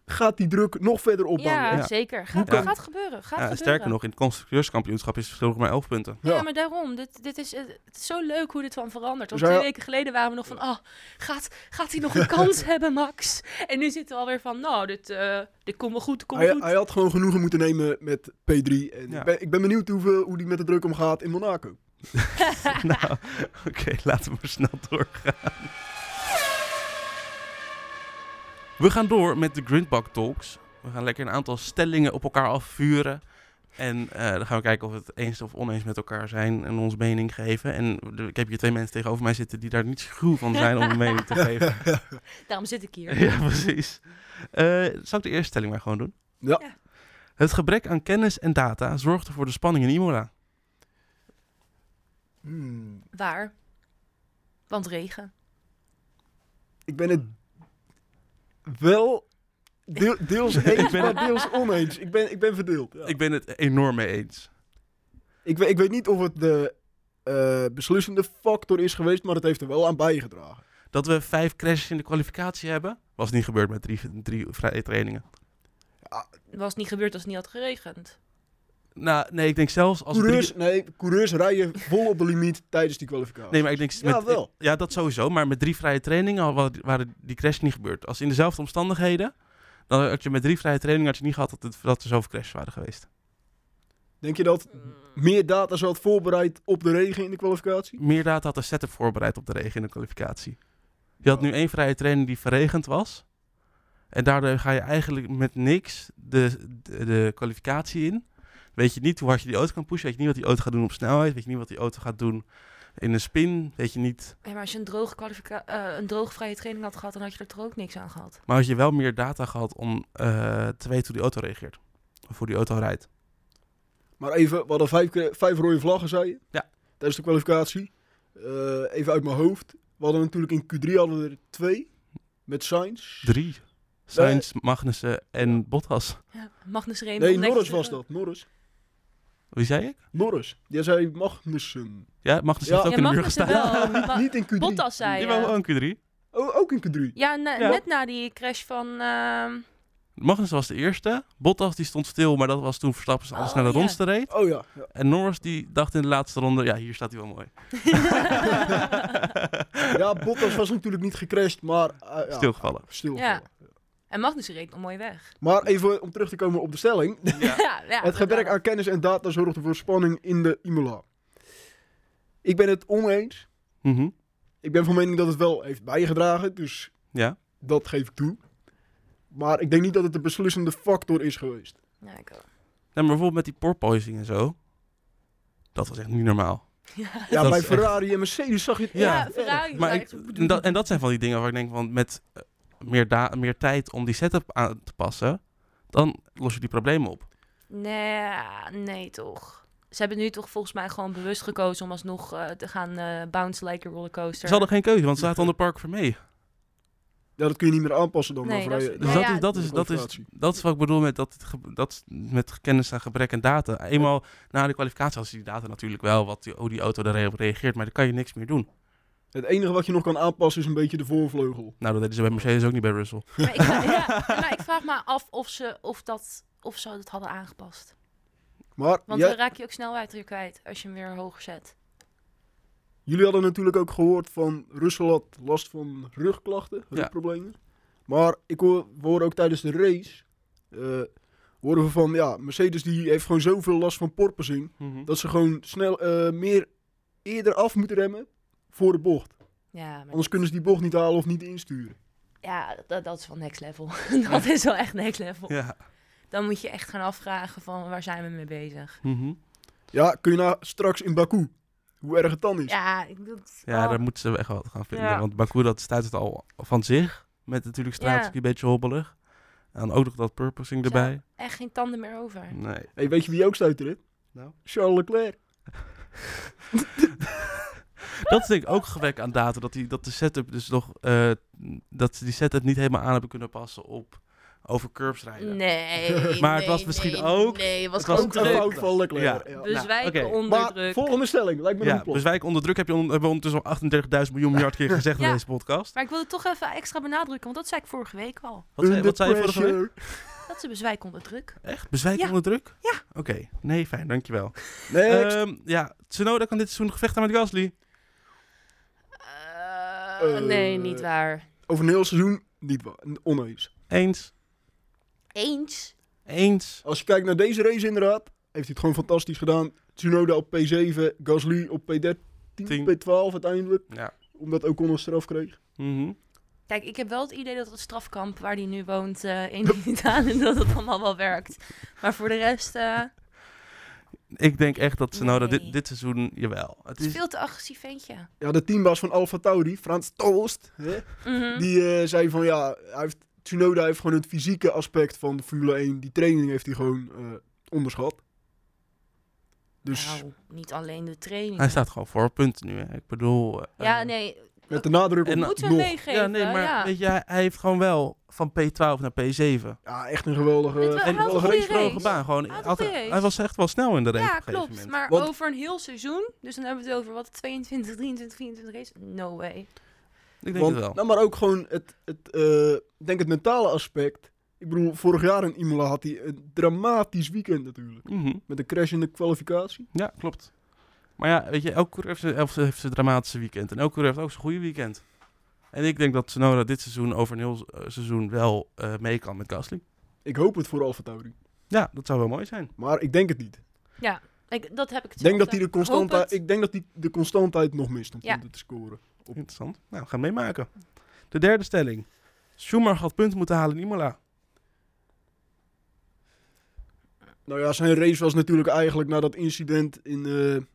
S2: gaat die druk nog verder opbouwen?
S3: Ja,
S1: Ja.
S3: zeker. Gaat,
S1: kan-
S3: gaat gebeuren. Gaat
S1: Ja, en
S3: gebeuren.
S1: sterker nog, in het constructeurskampioenschap is het verschil nog maar 11 punten.
S3: Ja, maar daarom. Dit, dit is, eh, het is zo leuk hoe dit van verandert. Want
S2: Zou
S3: twee
S2: je-
S3: weken geleden waren we nog van... Oh, gaat, gaat hij nog een kans hebben, Max? En nu zitten we alweer van... Nou, dit, eh, dit komt wel goed, dit komt wel
S2: Hij,
S3: goed.
S2: hij had gewoon genoegen moeten nemen met P3. En
S1: Ja.
S2: ik, ben, ik ben benieuwd hoeveel, hoe hij met de druk omgaat in Monaco.
S1: nou, oké, laten we maar snel doorgaan. We gaan door met de Grindbak Talks. We gaan lekker een aantal stellingen op elkaar afvuren. En eh, dan gaan we kijken of we het eens of oneens met elkaar zijn en ons mening geven. En de- ik heb hier twee mensen tegenover mij zitten die daar niet schuw van zijn om een mening te geven.
S3: Daarom zit ik hier.
S1: ja, precies. Eh, zal ik de eerste stelling maar gewoon doen?
S2: Ja.
S3: Ja.
S1: Het gebrek aan kennis en data zorgde voor de spanning in Imola.
S2: Hmm,
S3: Waar? Want regen.
S2: ik ben het wel deel- deels eens, ik ben maar deels oneens. Ik ben, ik ben verdeeld. ja.
S1: Ik ben het enorm mee eens.
S2: Ik, we- ik weet niet of het de eh, beslissende factor is geweest, maar het heeft er wel aan bijgedragen.
S1: Dat we vijf crashes in de kwalificatie hebben, was niet gebeurd met drie, drie vrije trainingen.
S3: Was niet gebeurd als het niet had geregend.
S1: Nou, nee, ik denk zelfs als... drie-
S2: Coureurs, nee, coureurs rijden vol op de limiet tijdens die kwalificatie.
S1: Nee, maar ik denk...
S2: Ja, wel.
S1: Ja, dat sowieso. Maar met drie vrije trainingen al wa- waren die crash niet gebeurd. Als in dezelfde omstandigheden, dan had je met drie vrije trainingen had je niet gehad dat, het, dat er zoveel crashes waren geweest.
S2: Denk je dat meer data zat voorbereid op de regen in de kwalificatie?
S1: Meer data had de setup voorbereid op de regen in de kwalificatie. Je
S2: Oh.
S1: had nu één vrije training die verregend was. En daardoor ga je eigenlijk met niks de, de, de kwalificatie in. Weet je niet hoe hard je die auto kan pushen. Weet je niet wat die auto gaat doen op snelheid. Weet je niet wat die auto gaat doen in een spin. Weet je niet
S3: Ja, maar als je een droge, kwalifica- eh, een droge vrije training had gehad, dan had je er toch ook niks aan gehad.
S1: Maar had je wel meer data gehad om eh, te weten hoe die auto reageert. Of hoe die auto rijdt.
S2: Maar even, we hadden vijf, kre- vijf rode vlaggen, zei je?
S1: Ja.
S2: Tijdens de kwalificatie. Eh, even uit mijn hoofd. We hadden natuurlijk in Q3 hadden we er twee. Met Sainz.
S1: Drie. Sainz, Magnussen en Bottas.
S3: Eh, Ja, Magnus Reen.
S2: Nee,
S3: ontdekte-
S2: Norris was dat. Norris.
S1: Wie zei ik?
S2: Norris. Die zei Magnussen.
S1: Ja, Magnussen
S2: Ja.
S1: heeft ook in
S3: Ja,
S1: de muur
S3: Magnussen
S1: gestaan.
S3: wel.
S2: Niet,
S3: maar
S2: niet in Q3.
S3: Bottas zei
S1: Die wou
S3: je.
S1: ook in Q3.
S2: Oh, ook in Q3.
S3: Ja, na-
S1: Ja.
S3: net na die crash van... ehm,
S1: Magnussen was de eerste. Bottas die stond stil, maar dat was toen Verstappen alles
S3: Oh,
S1: naar de
S3: ja.
S1: rondste reed.
S2: Oh ja. ja.
S1: En Norris die dacht in de laatste ronde, ja hier staat hij wel mooi.
S2: Ja, Bottas was natuurlijk niet gecrashed, maar... eh, ja,
S1: Stilgevallen.
S2: stilgevallen.
S3: en Magnus reed nog mooi weg.
S2: Maar even om terug te komen op de stelling.
S1: Ja.
S3: Ja, ja,
S2: het gebrek
S3: dat-
S2: aan kennis en data zorgde voor spanning in de Imola. Ik ben het oneens.
S1: Mhm.
S2: Ik ben van mening dat het wel heeft bijgedragen, dus
S1: ja.
S2: dat geef ik toe. Maar ik denk niet dat het de beslissende factor is geweest.
S3: Ja, ik ook.
S1: Nee, maar bijvoorbeeld met die porpoising en zo. Dat was echt niet normaal.
S2: Ja,
S1: Dat
S2: bij
S1: is
S2: Ferrari en Mercedes zag je het.
S1: Ja.
S3: Ja,
S2: echt.
S3: Ferrari
S1: Maar
S3: zei-
S1: ik- En dat, en dat zijn van die dingen waar ik denk, want met eh, meer, da- meer tijd om die setup aan te passen, dan los je die problemen op.
S3: Nee, ah, nee toch. Ze hebben nu toch volgens mij gewoon bewust gekozen om alsnog eh, te gaan eh, bounce like a rollercoaster.
S1: Ze hadden geen keuze, want ze zaten onder Park voor mee.
S2: Ja, dat kun je niet meer aanpassen dan.
S3: Nee,
S2: aan
S3: dat is-
S2: Ferrari.
S1: Dus
S3: Ja,
S1: dat,
S3: ja,
S1: is, dat, is, dat, is,
S2: motivatie.
S1: dat is wat ik bedoel met, dat, het ge- dat, met kennis aan gebrek aan data. Eenmaal na de kwalificatie hadden ze die data natuurlijk wel, wat die, hoe die auto daarop reageert, maar daar kan je niks meer doen.
S2: Het enige wat je nog kan aanpassen is een beetje de voorvleugel.
S1: Nou, dat deden ze bij Mercedes ook niet bij Russell.
S3: Maar ik, ja, maar ik vraag me af of ze, of, dat, of ze dat hadden aangepast.
S2: Maar
S3: Want
S2: jij-
S3: dan raak je ook snelheid weer kwijt als je hem weer hoger zet.
S2: jullie hadden natuurlijk ook gehoord van Russell had last van rugklachten, rugproblemen. Maar ik hoor, we horen ook tijdens de race, eh horen we van, ja, Mercedes die heeft gewoon zoveel last van porpoising. Dat ze gewoon snel eh, meer eerder af moeten remmen voor de bocht.
S3: Ja, maar
S2: Anders kunnen ze die bocht niet halen of niet insturen.
S3: ja dat, dat is wel next level. dat is wel echt next level.
S1: Ja.
S3: Dan moet je echt gaan afvragen van waar zijn we mee bezig.
S1: Mhm.
S2: Ja, kun je nou straks in Baku, hoe erg het dan is.
S3: Ja, ik bedoel,
S1: Ja,
S3: oh.
S1: daar moeten ze echt wat gaan vinden.
S3: Ja.
S1: Want Baku, dat staat het al van zich. Met natuurlijk straatski
S3: Ja.
S1: een beetje hobbelig. En dan ook nog dat purposing erbij.
S3: echt geen tanden meer over.
S1: Nee.
S2: Hey, weet je wie ook stuiterde?
S1: Nou?
S2: Charles Leclerc.
S1: Dat is denk ik ook gebrek aan data. Dat, die, dat de setup dus nog... eh, dat ze die setup niet helemaal aan hebben kunnen passen op over curbs rijden.
S3: Nee.
S1: Maar het
S3: nee,
S1: was misschien
S3: nee,
S1: ook-
S3: Nee, het was
S1: het was
S3: gewoon
S2: Ook een
S1: druk.
S2: fout van Leclerc.
S1: Ja. Nou,
S2: ja.
S3: Dus wij
S1: oké.
S3: onder
S2: Maar
S3: druk.
S2: volgende stelling, lijkt me
S1: Ja,
S2: een plan.
S1: dus wij onder druk heb je on, hebben we ondertussen al 38.000 miljoen miljard keer gezegd in
S3: Ja.
S1: deze podcast.
S3: Maar ik wil het toch even extra benadrukken, want dat zei ik vorige week al.
S1: Wat zei,
S2: Under
S1: wat zei je vorige week?
S2: pressure.
S3: Dat ze bezwijk onder druk.
S1: Echt? Bezwijk
S3: Ja.
S1: onder druk?
S3: Ja.
S1: Oké. Nee, fijn. Dankjewel.
S2: Next.
S1: Ehm ja, Tsunoda kan dit seizoen gevechten met Gasly.
S2: Eh,
S3: nee, niet waar.
S2: Over een heel seizoen niet waar. Oneens.
S1: Eens.
S3: Eens.
S1: Eens.
S2: Als je kijkt naar deze race inderdaad, heeft hij het gewoon fantastisch gedaan. Tsunoda op P7, Gasly op P13,
S1: Tien.
S2: P12 uiteindelijk.
S1: Ja.
S2: Omdat Ocon een straf kreeg.
S1: Mhm.
S3: Kijk, ik heb wel het idee dat het strafkamp waar hij nu woont eh, in Italië, dat het allemaal wel werkt. Maar voor de rest, eh,
S1: Ik denk echt dat Tsunoda
S3: Nee.
S1: dit, dit seizoen, jawel. Het
S3: het is
S1: is,
S3: veel te agressief ventje.
S2: Ja, de teambaas van Alfa Tauri, Frans Toost, hè,
S3: Mhm.
S2: die eh, zei van ja, hij heeft Tsunoda heeft gewoon het fysieke aspect van de Formule 1. Die training heeft hij gewoon eh, onderschat. Dus
S3: Nou, niet alleen de training.
S1: Hij staat gewoon voor punten nu. Hè. Ik bedoel... eh,
S3: Ja,
S1: eh,
S3: nee,
S2: met de nadruk op
S1: en-
S3: eh, moeten we
S2: nog.
S3: meegeven.
S1: Ja, nee, maar
S3: ja.
S1: weet je, hij- hij heeft gewoon wel van P12 naar P7.
S2: Ja, echt een geweldige...
S3: Het wa-
S1: En
S3: Hij had
S1: wel
S3: een goede
S1: race.
S3: race.
S1: gedaan. Gewoon,
S3: Hij had een
S1: had-
S3: goede race.
S1: hij was echt wel snel in de race.
S3: Ja,
S1: op een gegeven
S3: klopt.
S1: moment.
S3: Maar
S2: Want-
S3: over een heel seizoen, dus dan hebben we het over wat 22, 23, 24 race. No way.
S1: Ik denk
S2: Want,
S1: het wel.
S2: Nou, maar ook gewoon het, het, eh, ik denk het mentale aspect. Ik bedoel, vorig jaar in Imola had hij een dramatisch weekend natuurlijk.
S1: Mhm.
S2: Met een crash in de kwalificatie.
S1: Ja, klopt. Maar ja, weet je, elke coureur heeft zijn- heeft zijn, heeft zijn dramatische weekend. En elke coureur heeft ook zijn goede weekend. En ik denk dat Sonoda dit seizoen over een heel s- eh, seizoen wel eh, mee kan met Gasly.
S2: Ik hoop het voor Alfa Tauri.
S1: Ja, dat zou wel mooi zijn.
S2: Maar ik denk het niet.
S3: Ik, dat heb ik dus
S2: Ik denk dat hij de
S3: constante
S2: constantheid, ik denk dat hij de constantheid nog mist om
S3: Ja.
S2: punten te scoren.
S1: Interessant. Nou, we gaan meemaken. De derde stelling. Schumacher had punten moeten halen in Imola.
S2: Nou ja, zijn race was natuurlijk eigenlijk na dat incident in, eh,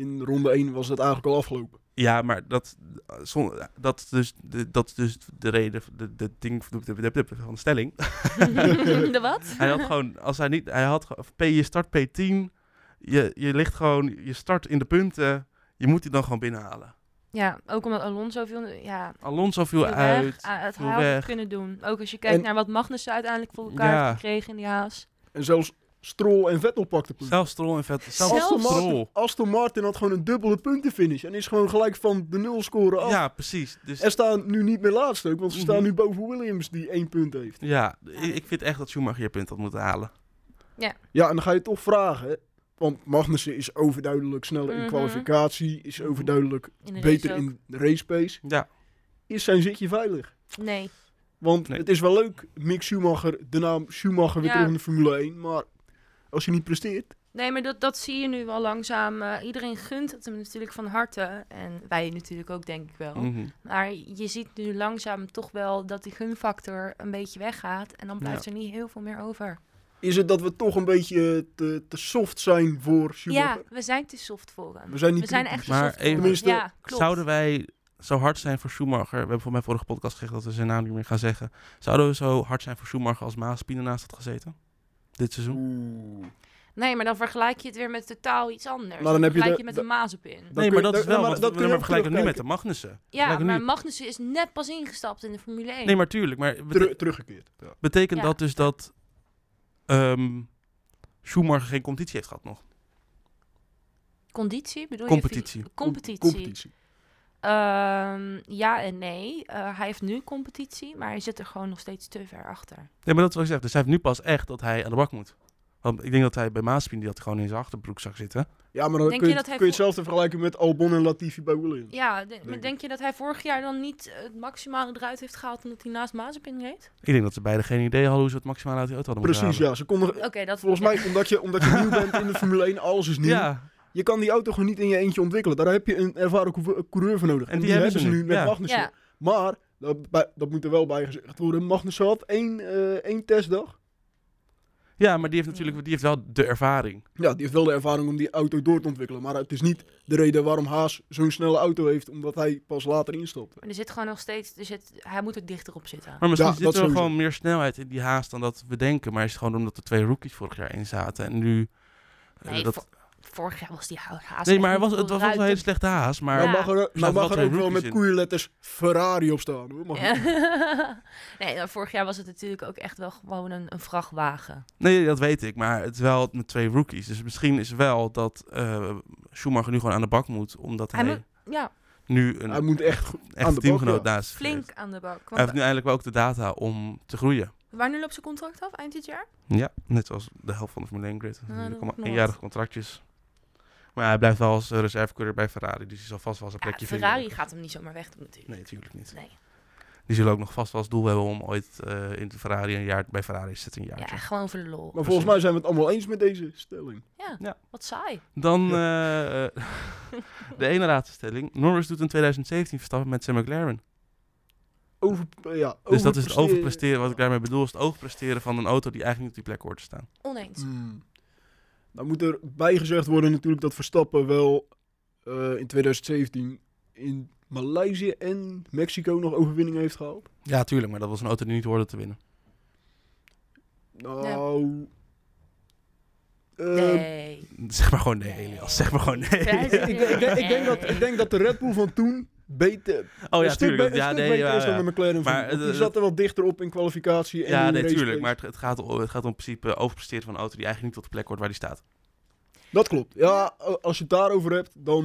S2: in ronde 1 was dat eigenlijk al afgelopen.
S1: Ja, maar dat, eh, zon- dat, is dus, de, dat is dus de reden, de, de ding van de, de- de- de- van de stelling.
S3: de wat?
S1: Hij had gewoon, als hij niet, hij had ge- P, je start P10, je, je ligt gewoon, je start in de punten, je moet die dan gewoon binnenhalen.
S3: Ja, ook omdat Alonso veel... Ja,
S1: Alonso viel
S3: veel
S1: uit.
S3: weg. Ah, het
S1: viel
S3: had
S1: weg.
S3: het kunnen doen. Ook als je kijkt
S2: En-
S3: naar wat Magnussen uiteindelijk voor elkaar
S1: Ja.
S3: heeft gekregen in die haas.
S2: En zelfs Stroll en Vettel pakten punten.
S1: Zelfs Stroll en Vettel. Zelfs
S3: Zelfs
S2: Aston, Martin,
S1: Stroll.
S2: Aston Martin had gewoon een dubbele puntenfinish en is gewoon gelijk van de nul scoren af.
S1: Ja, precies. Dus
S2: En staan nu niet meer laatste ook, want ze
S1: Mhm.
S2: staan nu boven Williams die één punt heeft.
S1: ja, ik, ik vind echt dat Schumacher hier punten had moeten halen.
S2: Ja, en dan ga je toch vragen, hè? want Magnussen is overduidelijk sneller in
S3: Mhm.
S2: kwalificatie, is overduidelijk
S3: In de
S2: beter
S3: race ook.
S2: in de race pace.
S1: Ja,
S2: Is zijn zitje veilig?
S3: Nee.
S2: Want
S1: Nee.
S2: het is wel leuk, Mick Schumacher, de naam Schumacher weer
S3: Ja.
S2: terug in de Formule 1, maar als je niet presteert,
S3: Nee, maar dat, dat zie je nu wel langzaam. Eh, iedereen gunt het hem natuurlijk van harte. En wij natuurlijk ook, denk ik wel.
S1: mhm.
S3: Maar je ziet nu langzaam toch wel dat die gunfactor een beetje weggaat. En dan blijft er niet heel veel meer over.
S2: is het dat we toch een beetje eh, te, te soft zijn voor Schumacher.
S3: Ja, we zijn te soft voor hem.
S2: We zijn niet
S3: We zijn
S2: kritisch.
S3: echt te
S1: Maar
S3: soft voor hem.
S2: Tenminste,
S3: Ja, klopt.
S1: Zouden wij zo hard zijn voor Schumacher? We hebben voor mijn vorige podcast gezegd dat we zijn naam niet meer gaan zeggen. Zouden we zo hard zijn voor Schumacher als Maaspien ernaast had gezeten? Dit seizoen?
S2: Oeh.
S3: Nee, maar dan vergelijk je het weer met totaal iets anders.
S2: Maar Nou, dan heb je
S3: vergelijk
S2: de-
S3: met
S2: de-
S3: een mazepin.
S2: Dan
S1: nee,
S2: kun
S1: maar
S2: je-
S1: dat is
S2: dan-
S1: wel.
S2: maar
S1: want
S2: dat
S1: we-
S2: kun je
S1: maar
S2: ook
S1: vergelijken we nu met de
S2: terugkijken.
S1: Magnussen.
S3: Ja,
S1: Vergelijken we
S3: maar
S1: nu-
S3: Magnussen is net pas ingestapt in de Formule 1.
S1: Nee, maar tuurlijk. Maar bete-
S2: Teru- teruggekeerd. Ja.
S1: betekent
S3: Ja.
S1: dat dus dat ehm, Schumacher geen competitie heeft gehad nog?
S3: Conditie bedoel
S1: Competitie.
S3: je? fysi- Competitie.
S2: Com- competitie.
S3: Ehm, ja en nee. Eh, hij heeft nu competitie, maar hij zit er gewoon nog steeds te ver achter.
S1: Nee, maar dat is wat ik zeg. Dus hij heeft nu pas echt dat hij aan de bak moet. Want ik denk dat hij bij Maaspien, die had gewoon in zijn achterbroek zag zitten.
S2: Ja, maar dan
S3: Denk
S2: kun je,
S3: je dat hij
S2: kun je hetzelfde vergelijken met Albon en Latifi bij Williams.
S3: Ja, de- maar
S2: ik.
S3: denk je dat hij vorig jaar dan niet eh, het maximale eruit heeft gehaald omdat hij naast Mazepin reed?
S1: Ik denk dat ze beiden geen idee hadden hoe ze het maximaal uit die auto hadden moeten
S2: Precies, ja. Ze konden,
S1: Eh,
S3: Oké, dat
S2: volgens
S3: ja.
S2: mij, omdat je, omdat je nieuw bent in de Formule 1, alles is nieuw.
S1: halen. Ja, Dus
S2: Je kan die auto gewoon niet in je eentje ontwikkelen. Daar heb je een ervaren couve- coureur voor nodig.
S1: En die hebben ze nu,
S2: met
S1: ja.
S2: Magnussen.
S3: Ja,
S2: Maar, dat, bij- dat moet er wel bij gezegd worden, Magnussen had één, eh, één testdag.
S1: ja, maar die heeft natuurlijk die heeft wel de ervaring.
S2: Ja, die heeft wel de ervaring om die auto door te ontwikkelen. Maar het is niet de reden waarom Haas zo'n snelle auto heeft, omdat hij pas later instapt.
S3: maar er zit gewoon nog steeds... Er zit, hij moet er dichter op zitten.
S1: Maar misschien
S2: Ja,
S1: zit er
S2: dat sowieso.
S1: gewoon meer snelheid in die haast dan dat we denken. Maar is het gewoon omdat er twee rookies vorig jaar in zaten. En nu... eh,
S3: Nee,
S1: dat-
S3: vo- vorig jaar was die hou- haast
S1: nee
S3: echt
S1: maar het
S3: niet
S1: was, het was wel
S3: vooruit.
S1: een hele slechte haast. Maar
S2: Nou
S3: Ja.
S2: mag er,
S1: zaten
S2: nou mag
S1: wel
S2: er
S1: twee
S2: ook wel
S1: rookies
S2: met
S1: in.
S2: koeienletters Ferrari op staan. Hoor. Mag
S3: Ja. nee, nou, vorig jaar was het natuurlijk ook echt wel gewoon een, een vrachtwagen.
S1: Nee, dat weet ik. Maar het is wel met twee rookies. Dus misschien is wel dat eh, Schumacher nu gewoon aan de bak moet. Omdat hij,
S3: Hij moet ja,
S1: nu een
S2: Hij moet echt aan
S1: echt
S2: de
S1: teamgenoot
S2: bak, ja.
S1: naast zich heeft.
S3: flink aan de bak.
S1: Hij heeft
S3: Want,
S1: nu eigenlijk wel ook de data om te groeien.
S3: waar nu loopt zijn contract af, eind dit jaar?
S1: Ja, net zoals de helft van de Formule 1 grid.
S3: Ja, Ah, dat
S1: Natuurlijk allemaal
S3: klopt.
S1: eenjarige contractjes. Maar hij blijft wel als eh, reservecoureur bij Ferrari. Dus hij zal vast wel zijn
S3: Ja,
S1: plekje
S3: Ferrari
S1: vinden.
S3: gaat hem niet zomaar wegdoen natuurlijk.
S1: Nee, natuurlijk niet.
S3: Nee.
S1: Die zullen ook nog vast wel als doel hebben om ooit eh, in de Ferrari een jaar bij Ferrari te zitten een
S3: Ja,
S1: jaartje.
S3: gewoon voor de lol.
S2: Maar volgens mij zijn we het allemaal eens met deze stelling.
S3: Ja,
S1: Ja.
S3: wat saai.
S1: Dan eh, eh, de ene laatste stelling. Norris doet in 2017 verstappen met zijn McLaren.
S2: Over, eh, ja,
S1: Dus dat is het overpresteren. Wat ik daarmee bedoel is het overpresteren van een auto die eigenlijk niet op die plek hoort te staan.
S3: Oneens.
S2: Hmm. Dan moet er bijgezegd worden natuurlijk dat Verstappen wel eh, in 2017 in Maleisië en Mexico nog overwinningen heeft gehaald.
S1: Ja, tuurlijk, maar dat was een auto die niet hoorde te winnen.
S2: Nou... ehm,
S3: Nee.
S1: Zeg maar gewoon nee, Elias. Zeg maar gewoon nee.
S2: ik, ik, ik denk, ik, denk dat, ik denk dat de Red Bull van toen beter,
S1: Oh
S2: een
S1: ja,
S2: stuk, be-
S1: tuurlijk.
S2: een
S1: Ja,
S2: stuk
S1: nee,
S2: beter
S1: ja,
S2: is dan
S1: ja.
S2: de McLaren.
S1: Maar,
S2: Maar,
S1: eh,
S2: die zat er wel dichter op in kwalificatie. En
S1: Ja,
S2: in
S1: nee,
S2: race
S1: tuurlijk.
S2: pace.
S1: Maar het, het gaat, o- het gaat om principe overpresteren van een auto die eigenlijk niet tot de plek hoort waar die staat.
S2: Dat klopt. Ja, eh, als je het daarover hebt, dan...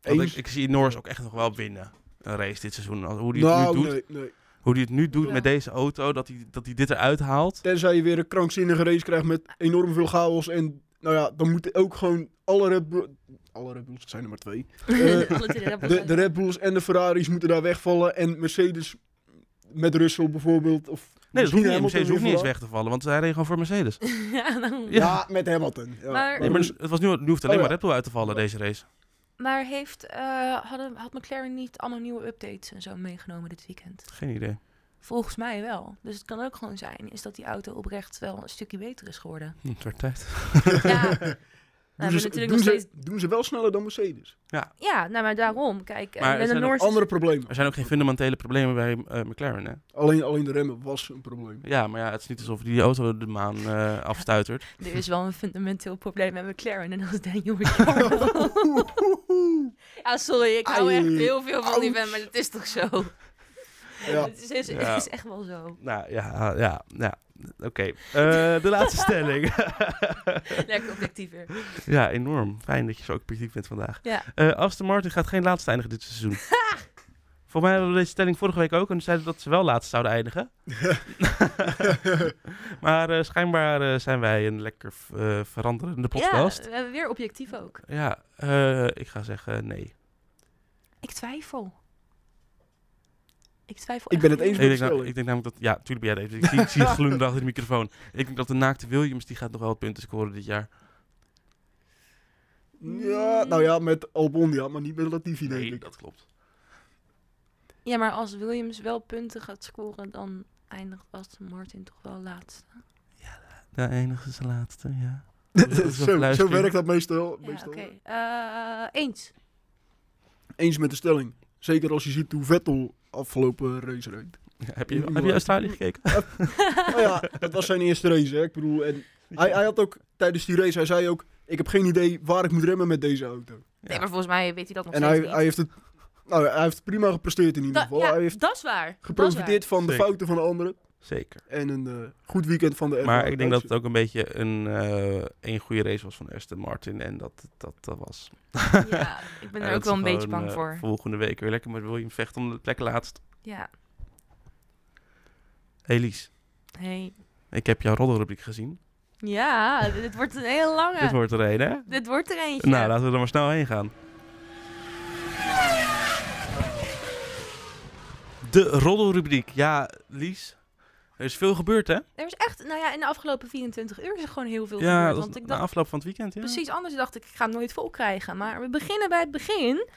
S1: Want ik,
S2: eens.
S1: ik zie Norris ook echt nog wel winnen. Een race dit seizoen. Als- Hoe die het
S2: nou,
S1: nu doet,
S2: nee, nee.
S1: hoe die het nu doet
S3: Ja.
S1: met deze auto, dat hij dat hij dit eruit haalt.
S2: Tenzij je weer een krankzinnige race krijgt met enorm veel chaos. En nou ja, dan moeten ook gewoon alle Red Bull... Alle Red Bulls, het zijn er maar twee. Eh,
S3: Alle drie hebben
S2: De, de Red Bulls en de Ferraris moeten daar wegvallen. En Mercedes met Russell bijvoorbeeld. Of
S1: Nee, dat hoeft niet.
S2: misschien
S1: Mercedes
S2: Hamilton
S1: hoeft niet eens
S2: weer
S1: weg te vallen, want zij reden gewoon voor Mercedes.
S3: Ja, dan-
S1: weg.
S2: vooraan. Ja, met Hamilton. Ja.
S3: Maar-
S1: Nee, maar het was nu, nu hoeft alleen
S2: Oh, ja.
S1: maar Red Bull uit te vallen deze race.
S3: Maar heeft, eh, hadden, had McLaren niet allemaal nieuwe updates en zo meegenomen dit weekend?
S1: Geen idee.
S3: Volgens mij wel. Dus het kan ook gewoon zijn is dat die auto oprecht wel een stukje beter is geworden.
S1: Hm, het wordt tijd.
S3: Ja, Nou,
S2: doen,
S3: hebben
S2: ze,
S3: natuurlijk
S2: doen,
S3: nog
S2: ze, doen ze wel sneller dan Mercedes.
S4: Ja, nou maar daarom. Kijk, eh,
S1: Maar er
S4: met een
S1: zijn ook
S4: Noorse...
S2: Andere problemen.
S1: Er zijn ook geen fundamentele problemen bij eh, McLaren, hè?
S2: Alleen, alleen de remmen was een probleem.
S1: Ja, maar ja, het is niet alsof die auto de maan eh, afstuitert.
S3: Er is wel een fundamenteel probleem met McLaren en dat is Daniel ja, sorry, ik hou
S2: Ai.
S3: echt heel veel van die vent,
S2: Ouch.
S3: maar het is toch zo?
S2: Ja.
S3: Het, is, het is-
S1: Ja.
S3: het is echt wel zo.
S1: Nou ja, ja, ja. Oké, Eh, de laatste stelling.
S3: Lekker objectief weer.
S1: ja, enorm. Fijn dat je zo objectief bent vandaag.
S3: Ja.
S1: Eh, Aston Martin gaat geen laatste eindigen dit seizoen. Voor mij hebben we deze stelling vorige week ook en zeiden dat ze wel laatst zouden eindigen. maar eh, schijnbaar eh, zijn wij een lekker eh, veranderende podcast.
S3: Ja, we hebben weer objectief ook.
S1: Ja, eh, ik ga zeggen nee.
S3: Ik twijfel. Ik twijfel
S2: Ik ben
S3: echt
S2: het eens
S3: heel
S1: Ik denk,
S2: met de
S1: nou-
S2: stelling.
S1: ik denk namelijk dat... Ja, tuurlijk ben jij het. Ik zie, ik zie het gloeiend achter de microfoon. Ik denk dat de naakte Williams, die gaat nog wel punten scoren dit jaar.
S2: Ja, nou ja, met Albon ja, maar niet met Latifi denk
S1: Nee,
S2: ik.
S1: dat klopt.
S3: Ja, maar als Williams wel punten gaat scoren, dan eindigt Aston Martin toch wel laatste.
S1: De enige is de laatste, ja.
S2: zo, zo werkt dat meestal.
S3: Ja, oké.
S2: meestal.
S3: Eh, eens.
S2: Eens met de stelling. Zeker als je ziet hoe Vettel afgelopen race reed.
S1: Heb je, heb je Australië gekeken?
S2: Nou ja, dat was zijn eerste race, hè. Ik bedoel, en hij, hij had ook tijdens die race, hij zei ook... Ik heb geen idee waar ik moet remmen met deze auto.
S1: Ja.
S4: Nee, maar volgens mij weet hij dat nog
S2: En
S4: steeds
S2: hij,
S4: niet.
S2: hij heeft het... Nou, hij heeft prima gepresteerd in ieder
S4: Da-
S2: geval.
S4: ja,
S2: hij heeft
S4: dat is waar. Dat is
S2: geprofiteerd van de
S1: Zeker.
S2: fouten van de anderen.
S1: Zeker.
S2: En een eh, goed weekend van de
S1: Maar
S2: F1
S1: ik denk dat eh, het
S2: auto's.
S1: ook een beetje een eh, één goede race was van Aston Martin. En dat dat, dat was.
S3: Ja, ik ben
S1: En
S3: er
S1: dat
S3: ook wel
S1: ze
S3: een beetje
S1: gewoon,
S4: bang
S1: eh,
S4: voor.
S1: volgende week weer lekker met William vechten om de plek laatst.
S3: ja.
S1: Elise,
S3: Hey.
S1: ik heb jouw roddelrubriek gezien.
S3: Ja, dit wordt een hele lange.
S1: Dit wordt er een, hè?
S3: Dit wordt er eentje.
S1: Nou, laten we er maar snel heen gaan. De roddelrubriek. Ja, Lies. Er is veel gebeurd, hè?
S3: Er is echt, nou ja, in de afgelopen 24 uur is er gewoon heel veel
S1: ja,
S3: gebeurd.
S1: dat
S3: Want
S1: was
S3: ik
S1: na
S3: dacht
S1: afloop van het weekend, ja.
S3: precies anders. dacht ik, ik ga het nooit vol krijgen. Maar we beginnen bij het begin.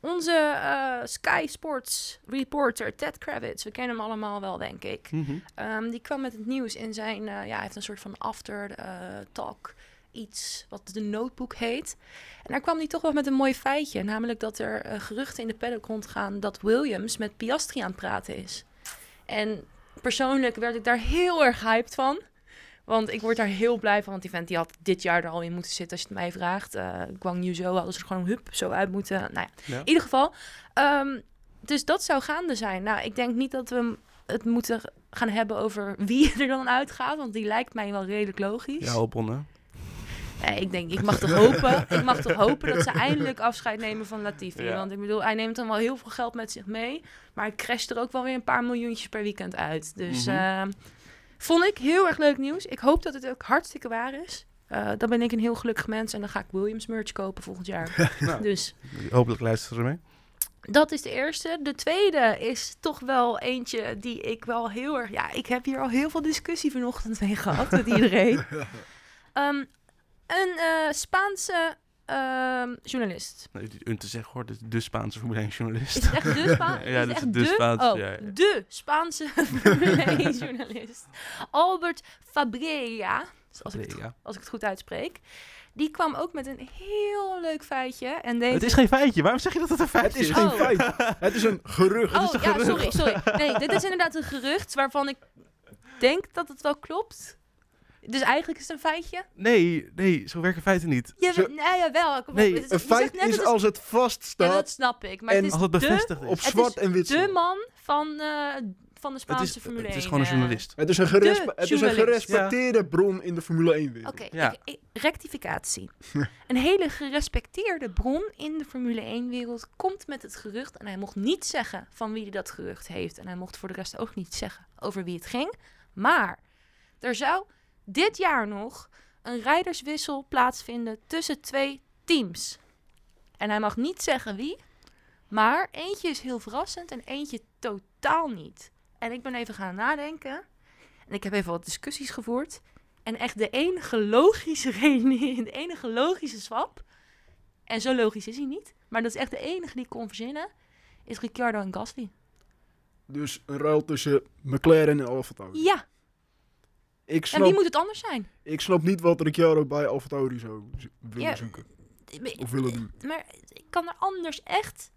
S3: Onze eh, Sky Sports reporter Ted Kravitz, we kennen hem allemaal wel, denk ik.
S1: Mhm.
S3: Ehm, die kwam met het nieuws in zijn, eh, ja, hij heeft een soort van after eh, talk, iets wat de notebook heet. En daar kwam hij toch wel met een mooi feitje, namelijk dat er eh, geruchten in de paddock rondgaan dat Williams met Piastri aan het praten is. En persoonlijk werd ik daar heel erg hyped van. Want ik word daar heel blij van, want die vent die had dit jaar er al in moeten zitten, als je het mij vraagt. Eh Guang Yu Zhou hadden ze er gewoon hup zo uit moeten. Nou ja,
S1: Ja.
S3: in ieder geval. ehm, dus dat zou gaande zijn. Nou, ik denk niet dat we hem- het moeten gaan hebben over wie er dan uitgaat, want die lijkt mij wel redelijk logisch.
S1: Ja, op hè?
S3: Nee, ik denk, ik mag toch hopen, ik mag toch hopen dat ze eindelijk afscheid nemen van Latifi.
S1: Ja.
S3: Want ik bedoel, hij neemt dan wel heel veel geld met zich mee. Maar hij crasht er ook wel weer een paar miljoentjes per weekend uit. Dus
S1: Mhm.
S3: eh, vond ik heel erg leuk nieuws. Ik hoop dat het ook hartstikke waar is. Eh, dan ben ik een heel gelukkig mens en dan ga ik Williams merch kopen volgend jaar.
S1: Nou.
S3: Dus
S1: Hopelijk luisteren ze mee.
S3: dat is de eerste. De tweede is toch wel eentje die ik wel heel erg... Ja, ik heb hier al heel veel discussie vanochtend mee gehad met iedereen. Ehm, een eh, Spaanse ehm, journalist.
S1: Nou, dit- Een te zeggen hoor, dit is de Spaanse Formule 1
S3: Is
S1: journalist.
S3: het echt de Spaanse?
S1: Ja, dit is de Spaanse,
S3: Oh,
S1: ja, ja.
S3: de Spaanse Formule 1 journalist. Albert Fabrea, als ik het
S1: Ja.
S3: als ik het goed uitspreek. Die kwam ook met een heel leuk feitje. En deze...
S1: Het is geen feitje. Waarom zeg je dat het een
S2: Het
S1: feitje
S2: is
S1: is?
S3: Oh.
S2: geen feit. Het is een gerucht.
S3: oh, ja, sorry, sorry. Nee, dit is inderdaad een gerucht waarvan ik denk dat het wel klopt. Dus eigenlijk is het een feitje?
S1: Nee, nee, zo werken feiten niet.
S3: Ja,
S2: Zo-
S3: we- nee, jawel. Kom op.
S1: Nee,
S3: Het is- dus
S2: Een
S3: je zegt
S2: feit
S3: net dat
S2: is
S3: het-
S2: als het
S3: Ja,
S2: vaststaat
S3: dat snap ik. Maar
S2: en
S3: het
S1: Als
S3: is
S1: het
S3: de,
S1: bevestigd is.
S2: op
S3: Het is
S2: zwart en wit.
S3: de
S2: staat.
S3: man van, eh, van de
S1: Het
S3: Spaanse
S1: is,
S3: Formule 1.
S1: het is gewoon een
S3: eh.
S1: journalist.
S2: Het is een, gerespe-
S3: De
S2: het is een
S3: journalist.
S2: gerespecteerde bron in de Formule 1 wereld.
S3: Oké,
S1: Ja.
S3: ik- ik- rectificatie. een hele gerespecteerde bron in de Formule 1-wereld komt met het gerucht. En hij mocht niet zeggen van wie hij dat gerucht heeft. En hij mocht voor de rest ook niet zeggen over wie het ging. Maar er zou dit jaar nog een rijderswissel plaatsvinden tussen twee teams. En hij mag niet zeggen wie. Maar eentje is heel verrassend en eentje totaal niet. En ik ben even gaan nadenken. En ik heb even wat discussies gevoerd. En echt de enige logische reden, de enige logische swap. En zo logisch is hij niet. Maar dat is echt de enige die ik kon verzinnen. Is Ricciardo en Gasly.
S2: Dus een ruil tussen McLaren en Alfa Tauri.
S3: Ja,
S2: Ik
S3: en wie
S2: snap,
S3: moet het anders zijn?
S2: ik snap niet wat Ricciardo bij Alfa Tauri zou z- willen
S3: Ja.
S2: zoeken.
S3: Ik-
S2: Of willen doen.
S3: Maar ik kan er anders echt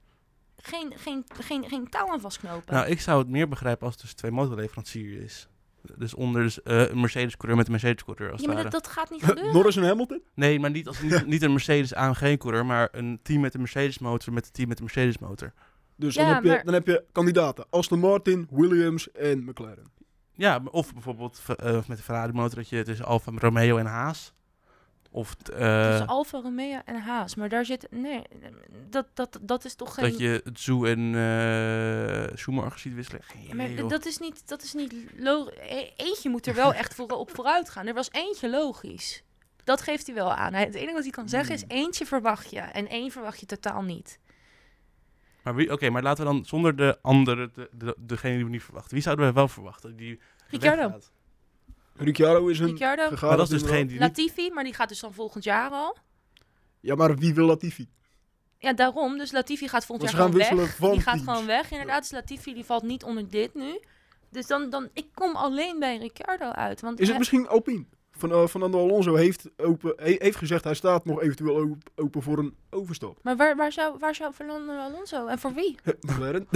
S3: geen, geen, geen, geen touw aan vastknopen.
S1: Nou, ik zou het meer begrijpen als het tussen twee motorleveranciers is. Dus onder eh, een Mercedes-coureur met een Mercedes-coureur als
S3: ja,
S1: het
S3: maar
S1: ware.
S3: dat, dat gaat niet gebeuren.
S2: Norris en Hamilton?
S1: Nee, maar niet, als, niet, niet een Mercedes AMG-coureur, maar een team met een Mercedes-motor met een team met een Mercedes-motor.
S2: Dus
S3: Ja,
S2: dan, heb je,
S3: maar-
S2: dan heb je kandidaten. Aston Martin, Williams en McLaren.
S1: Ja, m- of bijvoorbeeld v- eh, met de Ferrari-motor dat je tussen Alfa Romeo en Haas. Of t- eh,
S3: Tussen Alfa Romeo en Haas. Maar daar zit. Nee, dat, dat, dat is toch geen.
S1: dat je Zhu en eh Schumacher ziet wisselen. Geen idee,
S3: Maar
S1: joh.
S3: dat is niet, dat is niet logisch. Eentje moet er wel echt voor, op vooruit gaan. Er was eentje logisch. Dat geeft hij wel aan. Hij- Het enige wat hij kan zeggen
S2: Hmm.
S3: is eentje verwacht je en één verwacht je totaal niet.
S1: Maar wie- oké, maar laten we dan zonder de andere, de, de- degene die we niet verwachten. Wie zouden we wel verwachten? Die
S3: Ricciardo.
S1: weggaat?
S2: Ricciardo is een
S3: Ricciardo,
S2: gegaan.
S1: Maar dat is dus degene die niet...
S3: Latifi, maar die gaat dus dan volgend jaar al.
S2: Ja, maar wie wil Latifi?
S3: Ja, daarom. Dus Latifi gaat volgend jaar
S2: Want ze gaan
S3: gewoon weg.
S2: wisselen van
S3: die gaat
S2: teams.
S3: gewoon weg. Inderdaad, dus Latifi die valt niet onder dit nu. Dus dan, dan ik kom alleen bij Ricciardo uit. Want
S2: Is het
S3: hij-
S2: misschien Alpine? Van, eh, Fernando Alonso heeft, open, he- heeft gezegd hij staat nog eventueel op- open voor een overstap.
S3: maar waar, waar, zou, waar zou Fernando Alonso en voor wie?
S2: McLaren?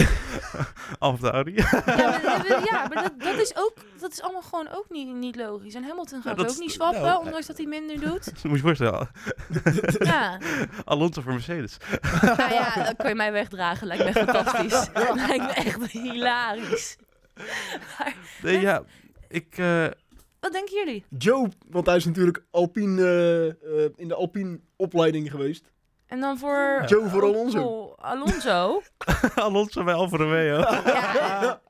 S1: Alfa Tauri.
S3: Ja, maar, ja, maar dat, dat is ook, dat is allemaal gewoon ook niet, niet logisch. En Hamilton gaat
S1: Nou, dat
S3: ook
S1: is-
S3: niet swappen,
S1: nou,
S3: ondanks dat hij minder doet.
S1: Moet je je voorstellen,
S3: Ja,
S1: Alonso voor Mercedes.
S3: nou ja, dan kun je mij wegdragen. Lijkt me echt fantastisch. Lijkt me echt hilarisch.
S1: Nee, ja, ik... eh,
S3: Wat denken jullie?
S2: Joe, want hij is natuurlijk Alpine, eh, eh, in de Alpine opleiding geweest.
S3: En dan voor...
S2: Joe voor Alonso.
S3: Oh, Alonso?
S1: Alonso bij Alfa Romeo.
S3: Ja.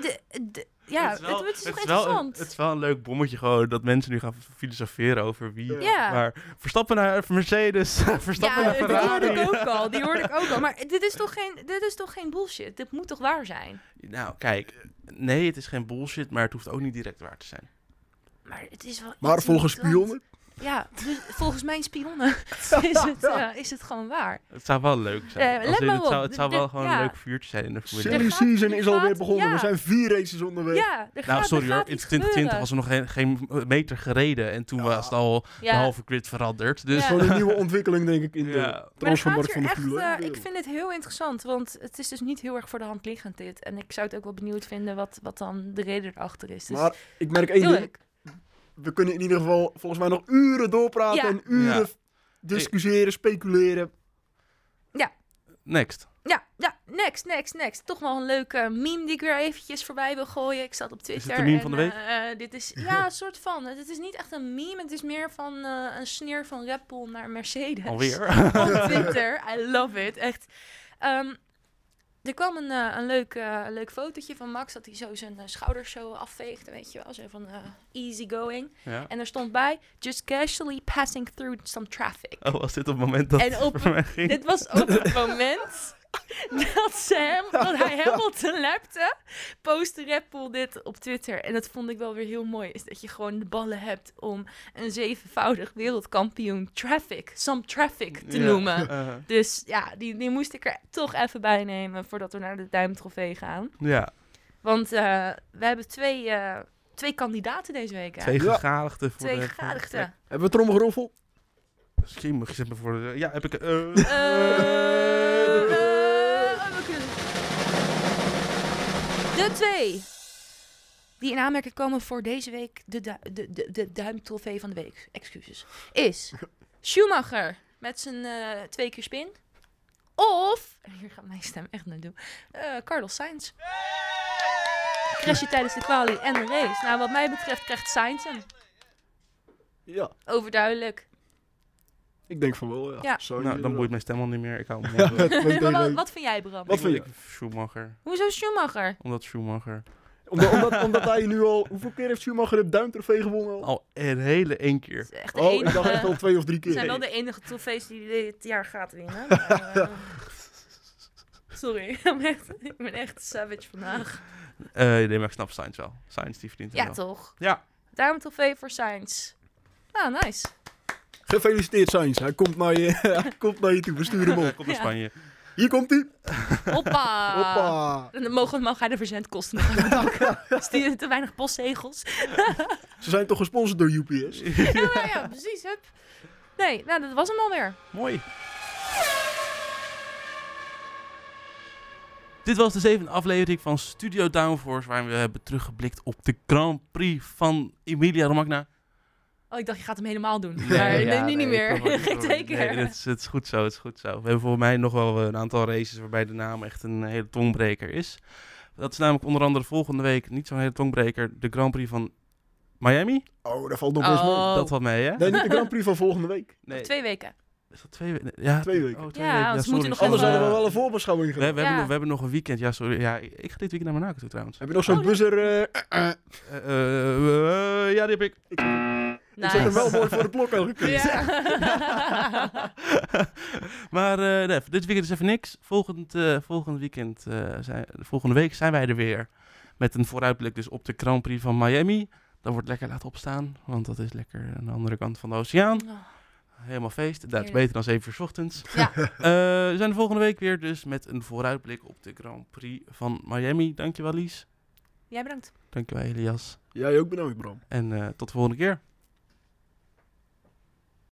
S3: De- de- ja, het, het is toch
S1: is wel een,
S3: interessant?
S1: het is wel een leuk bommetje gewoon dat mensen nu gaan filosoferen over wie.
S3: Ja.
S1: Maar Verstappen naar Mercedes, Verstappen
S3: ja,
S1: naar
S3: die hoorde ik
S1: Ferrari.
S3: ook al. Die hoorde ik ook al. Maar dit is toch geen, dit is toch geen bullshit? Dit moet toch waar zijn?
S1: Nou, kijk. Nee, het is geen bullshit, maar het hoeft ook niet direct waar te zijn.
S3: Maar het is wel.
S2: Maar
S3: iets
S2: volgens
S3: in dit land.
S2: spionnen?
S3: Ja, dus volgens mijn spionnen is het, eh, is het gewoon waar.
S1: Het zou wel leuk
S3: Eh,
S1: zijn. Als
S3: let
S1: in,
S3: maar
S1: het zou,
S3: op,
S1: het zou
S3: de-
S1: wel
S3: de-
S1: gewoon
S3: ja.
S1: een leuk vuurtje zijn in de Formule
S2: Silly
S3: Er gaat-
S2: season
S3: er
S2: is alweer
S3: gaat-
S2: begonnen.
S3: ja.
S2: Er zijn vier races onderweg.
S3: Ja, er
S1: 1.
S3: gaat,
S1: Nou,
S3: er
S1: sorry hoor.
S3: gaat
S1: In
S3: iets
S1: 2020
S3: gebeuren.
S1: was er nog geen, geen meter gereden. En toen
S2: Ja.
S1: was het al
S3: Ja.
S1: de halve grid veranderd.
S2: Dat
S1: Dus
S2: is
S3: Ja.
S2: gewoon een nieuwe ontwikkeling, denk ik, in
S1: Ja. Maar
S2: de
S1: er
S3: Maar er gaat
S2: transfermarkt van de
S3: hier echt,
S2: Formule
S3: eh,
S2: 1
S3: ik
S2: wereld.
S3: vind het heel interessant, want het is dus niet heel erg voor de hand liggend dit. En ik zou het ook wel benieuwd vinden wat, wat dan de reden erachter is. Dus
S2: Maar ik merk één
S3: heel
S2: ding.
S3: leuk.
S2: We kunnen in ieder geval volgens mij nog uren doorpraten
S3: Ja.
S2: en uren
S1: Ja.
S2: discussiëren, speculeren.
S1: next.
S3: Ja, ja, next, next, next. Toch wel een leuke meme die ik weer eventjes voorbij wil gooien. Ik zat op Twitter.
S1: het de meme
S3: en,
S1: van de week?
S3: eh, eh, dit is, ja, een soort van. Het is niet echt een meme, het is meer van eh, een sneer van Red Bull naar Mercedes.
S1: Alweer.
S3: op Twitter. I love it, echt. Ehm, er kwam een, eh, een leuk, eh, een leuk fotootje van Max dat hij zo zijn eh, schouders zo afveegde, weet je wel. Zo van eh, easy going.
S1: Ja.
S3: En er stond bij, just casually passing through some traffic.
S1: Oh, was dit op het moment dat
S3: En
S1: het
S3: op-
S1: voor mij ging?
S3: Dit was ook het moment dat, ze hem, dat hij Hamilton lapte. Postte Red Bull dit op Twitter. En dat vond ik wel weer heel mooi. Is dat je gewoon de ballen hebt om een zevenvoudig wereldkampioen traffic, some traffic te
S1: Ja.
S3: noemen.
S1: Eh,
S3: Dus ja, die, die moest ik er toch even bij nemen voordat we naar de duimtrofee gaan.
S1: ja,
S3: Want eh, we hebben twee, eh, twee kandidaten deze week. Hè?
S1: twee
S2: Ja.
S1: gegadigden. voor
S3: Twee
S1: de-
S3: gegadigden.
S2: Hebben we tromgeroffel?
S1: Misschien gezet me voor. de- Ja, heb ik. eh,
S4: Eh, eh,
S3: we kunnen...
S4: de twee.
S3: die in aanmerking komen voor deze week de, du- de, de, de duimtrofee van de week, excuses, is Schumacher met zijn eh, twee keer spin. Of, hier gaat mijn stem echt naartoe, Eh Carlos Sainz. Crashje tijdens de kwalie en de race. Nou, wat mij betreft krijgt Sainz hem.
S2: Ja,
S3: Overduidelijk.
S2: ik denk van wel, ja. eh,
S3: Ja.
S2: Sorry,
S1: nou, dan
S2: inderdaad.
S1: boeit mijn stem al niet meer. Ik hou hem
S2: Ja,
S1: mond.
S2: het went
S3: Maar
S2: tegen.
S3: wat, wat vind jij, Bram?
S2: Wat vind je?
S1: Ik- Schumacher.
S3: Hoezo Schumacher?
S1: Omdat Schumacher
S2: Omdat, omdat, omdat hij nu al... Hoeveel keer heeft Schumacher het duimtrofee gewonnen? al?
S1: al een hele één keer.
S3: Het is echt de
S2: Oh, ik
S3: enige...
S2: dacht echt al twee of drie
S3: Het zijn
S2: keer.
S3: wel de enige trofees die dit jaar gaat winnen. maar, eh, sorry, ik ben echt, ik ben echt savage vandaag.
S1: Eh nee, maar ik snap Sainz wel. Sainz die verdient hem
S3: Ja,
S1: wel.
S3: toch?
S1: Ja.
S3: Daarom trofee voor Science. Nou, nice.
S2: Gefeliciteerd, Sainz. Hij komt naar je, hij komt naar je toe. We sturen hem
S1: Hij
S2: op.
S1: komt naar
S3: Ja.
S1: Spanje.
S2: Hier komt hij.
S3: Hoppa.
S2: Hoppa.
S3: En dan mogen, mag hij de verzendkosten nog aan bedanken. Sturen te weinig postzegels.
S2: Ze zijn toch gesponsord door UPS?
S3: ja, maar ja, precies. Hup. Nee, nou, dat was hem alweer.
S1: Mooi. Dit was de zevende aflevering van Studio Downforce, waarin we hebben teruggeblikt op de Grand Prix van Emilia Romagna.
S3: Oh, ik dacht, je gaat hem helemaal doen. maar nee,
S1: ja,
S3: nu niet
S1: ik kan wel-
S3: meer.
S1: ik kan
S3: Geen
S1: wel-
S3: zeker.
S1: Nee, het, is, het is goed zo, het is goed zo. We hebben volgens mij nog wel eh, een aantal races waarbij de naam echt een hele tongbreker is. Dat is namelijk onder andere volgende week, niet zo'n hele tongbreker, de Grand Prix van Miami.
S2: Oh, daar valt nog best mee.
S3: Oh.
S1: Dat valt mee, hè?
S2: Nee, niet de Grand Prix van volgende week.
S1: Nee.
S3: Twee weken.
S1: Is dat twee weken? Ja,
S2: Twee weken.
S1: Oh, twee
S3: Ja,
S1: weken.
S3: want ze
S1: sorry,
S3: moeten nog
S1: sorry.
S2: Anders
S3: even-
S2: hadden we wel een voorbeschouwing
S1: We, we,
S2: gedaan.
S1: hebben
S3: Ja.
S1: nog, we hebben nog een weekend. Ja, sorry. Ja, ik, ik ga dit weekend naar Monaco toe trouwens.
S2: Heb je nog zo'n
S3: Oh,
S2: buzzer? eh, eh, eh?
S1: Eh, eh, eh, eh, ja, die heb ik.
S3: Nice.
S2: Ik zet hem wel mooi voor de klok aangekund.
S3: Ja.
S1: maar eh, nee, dit weekend is even niks. Volgend, eh, volgend weekend, eh, zijn, volgende week zijn wij er weer. Met een vooruitblik dus op de Grand Prix van Miami. Dat wordt lekker laten opstaan, want dat is lekker aan de andere kant van de oceaan. Helemaal feest. Dat is
S3: Heerlijk.
S1: beter dan 7 uur 's ochtends.
S3: Ja.
S1: Eh, we zijn er volgende week weer dus met een vooruitblik op de Grand Prix van Miami. Dankjewel Lies.
S3: Jij bedankt.
S1: Dankjewel Elias.
S2: Jij ook bedankt, Bram.
S1: En eh, tot de volgende keer.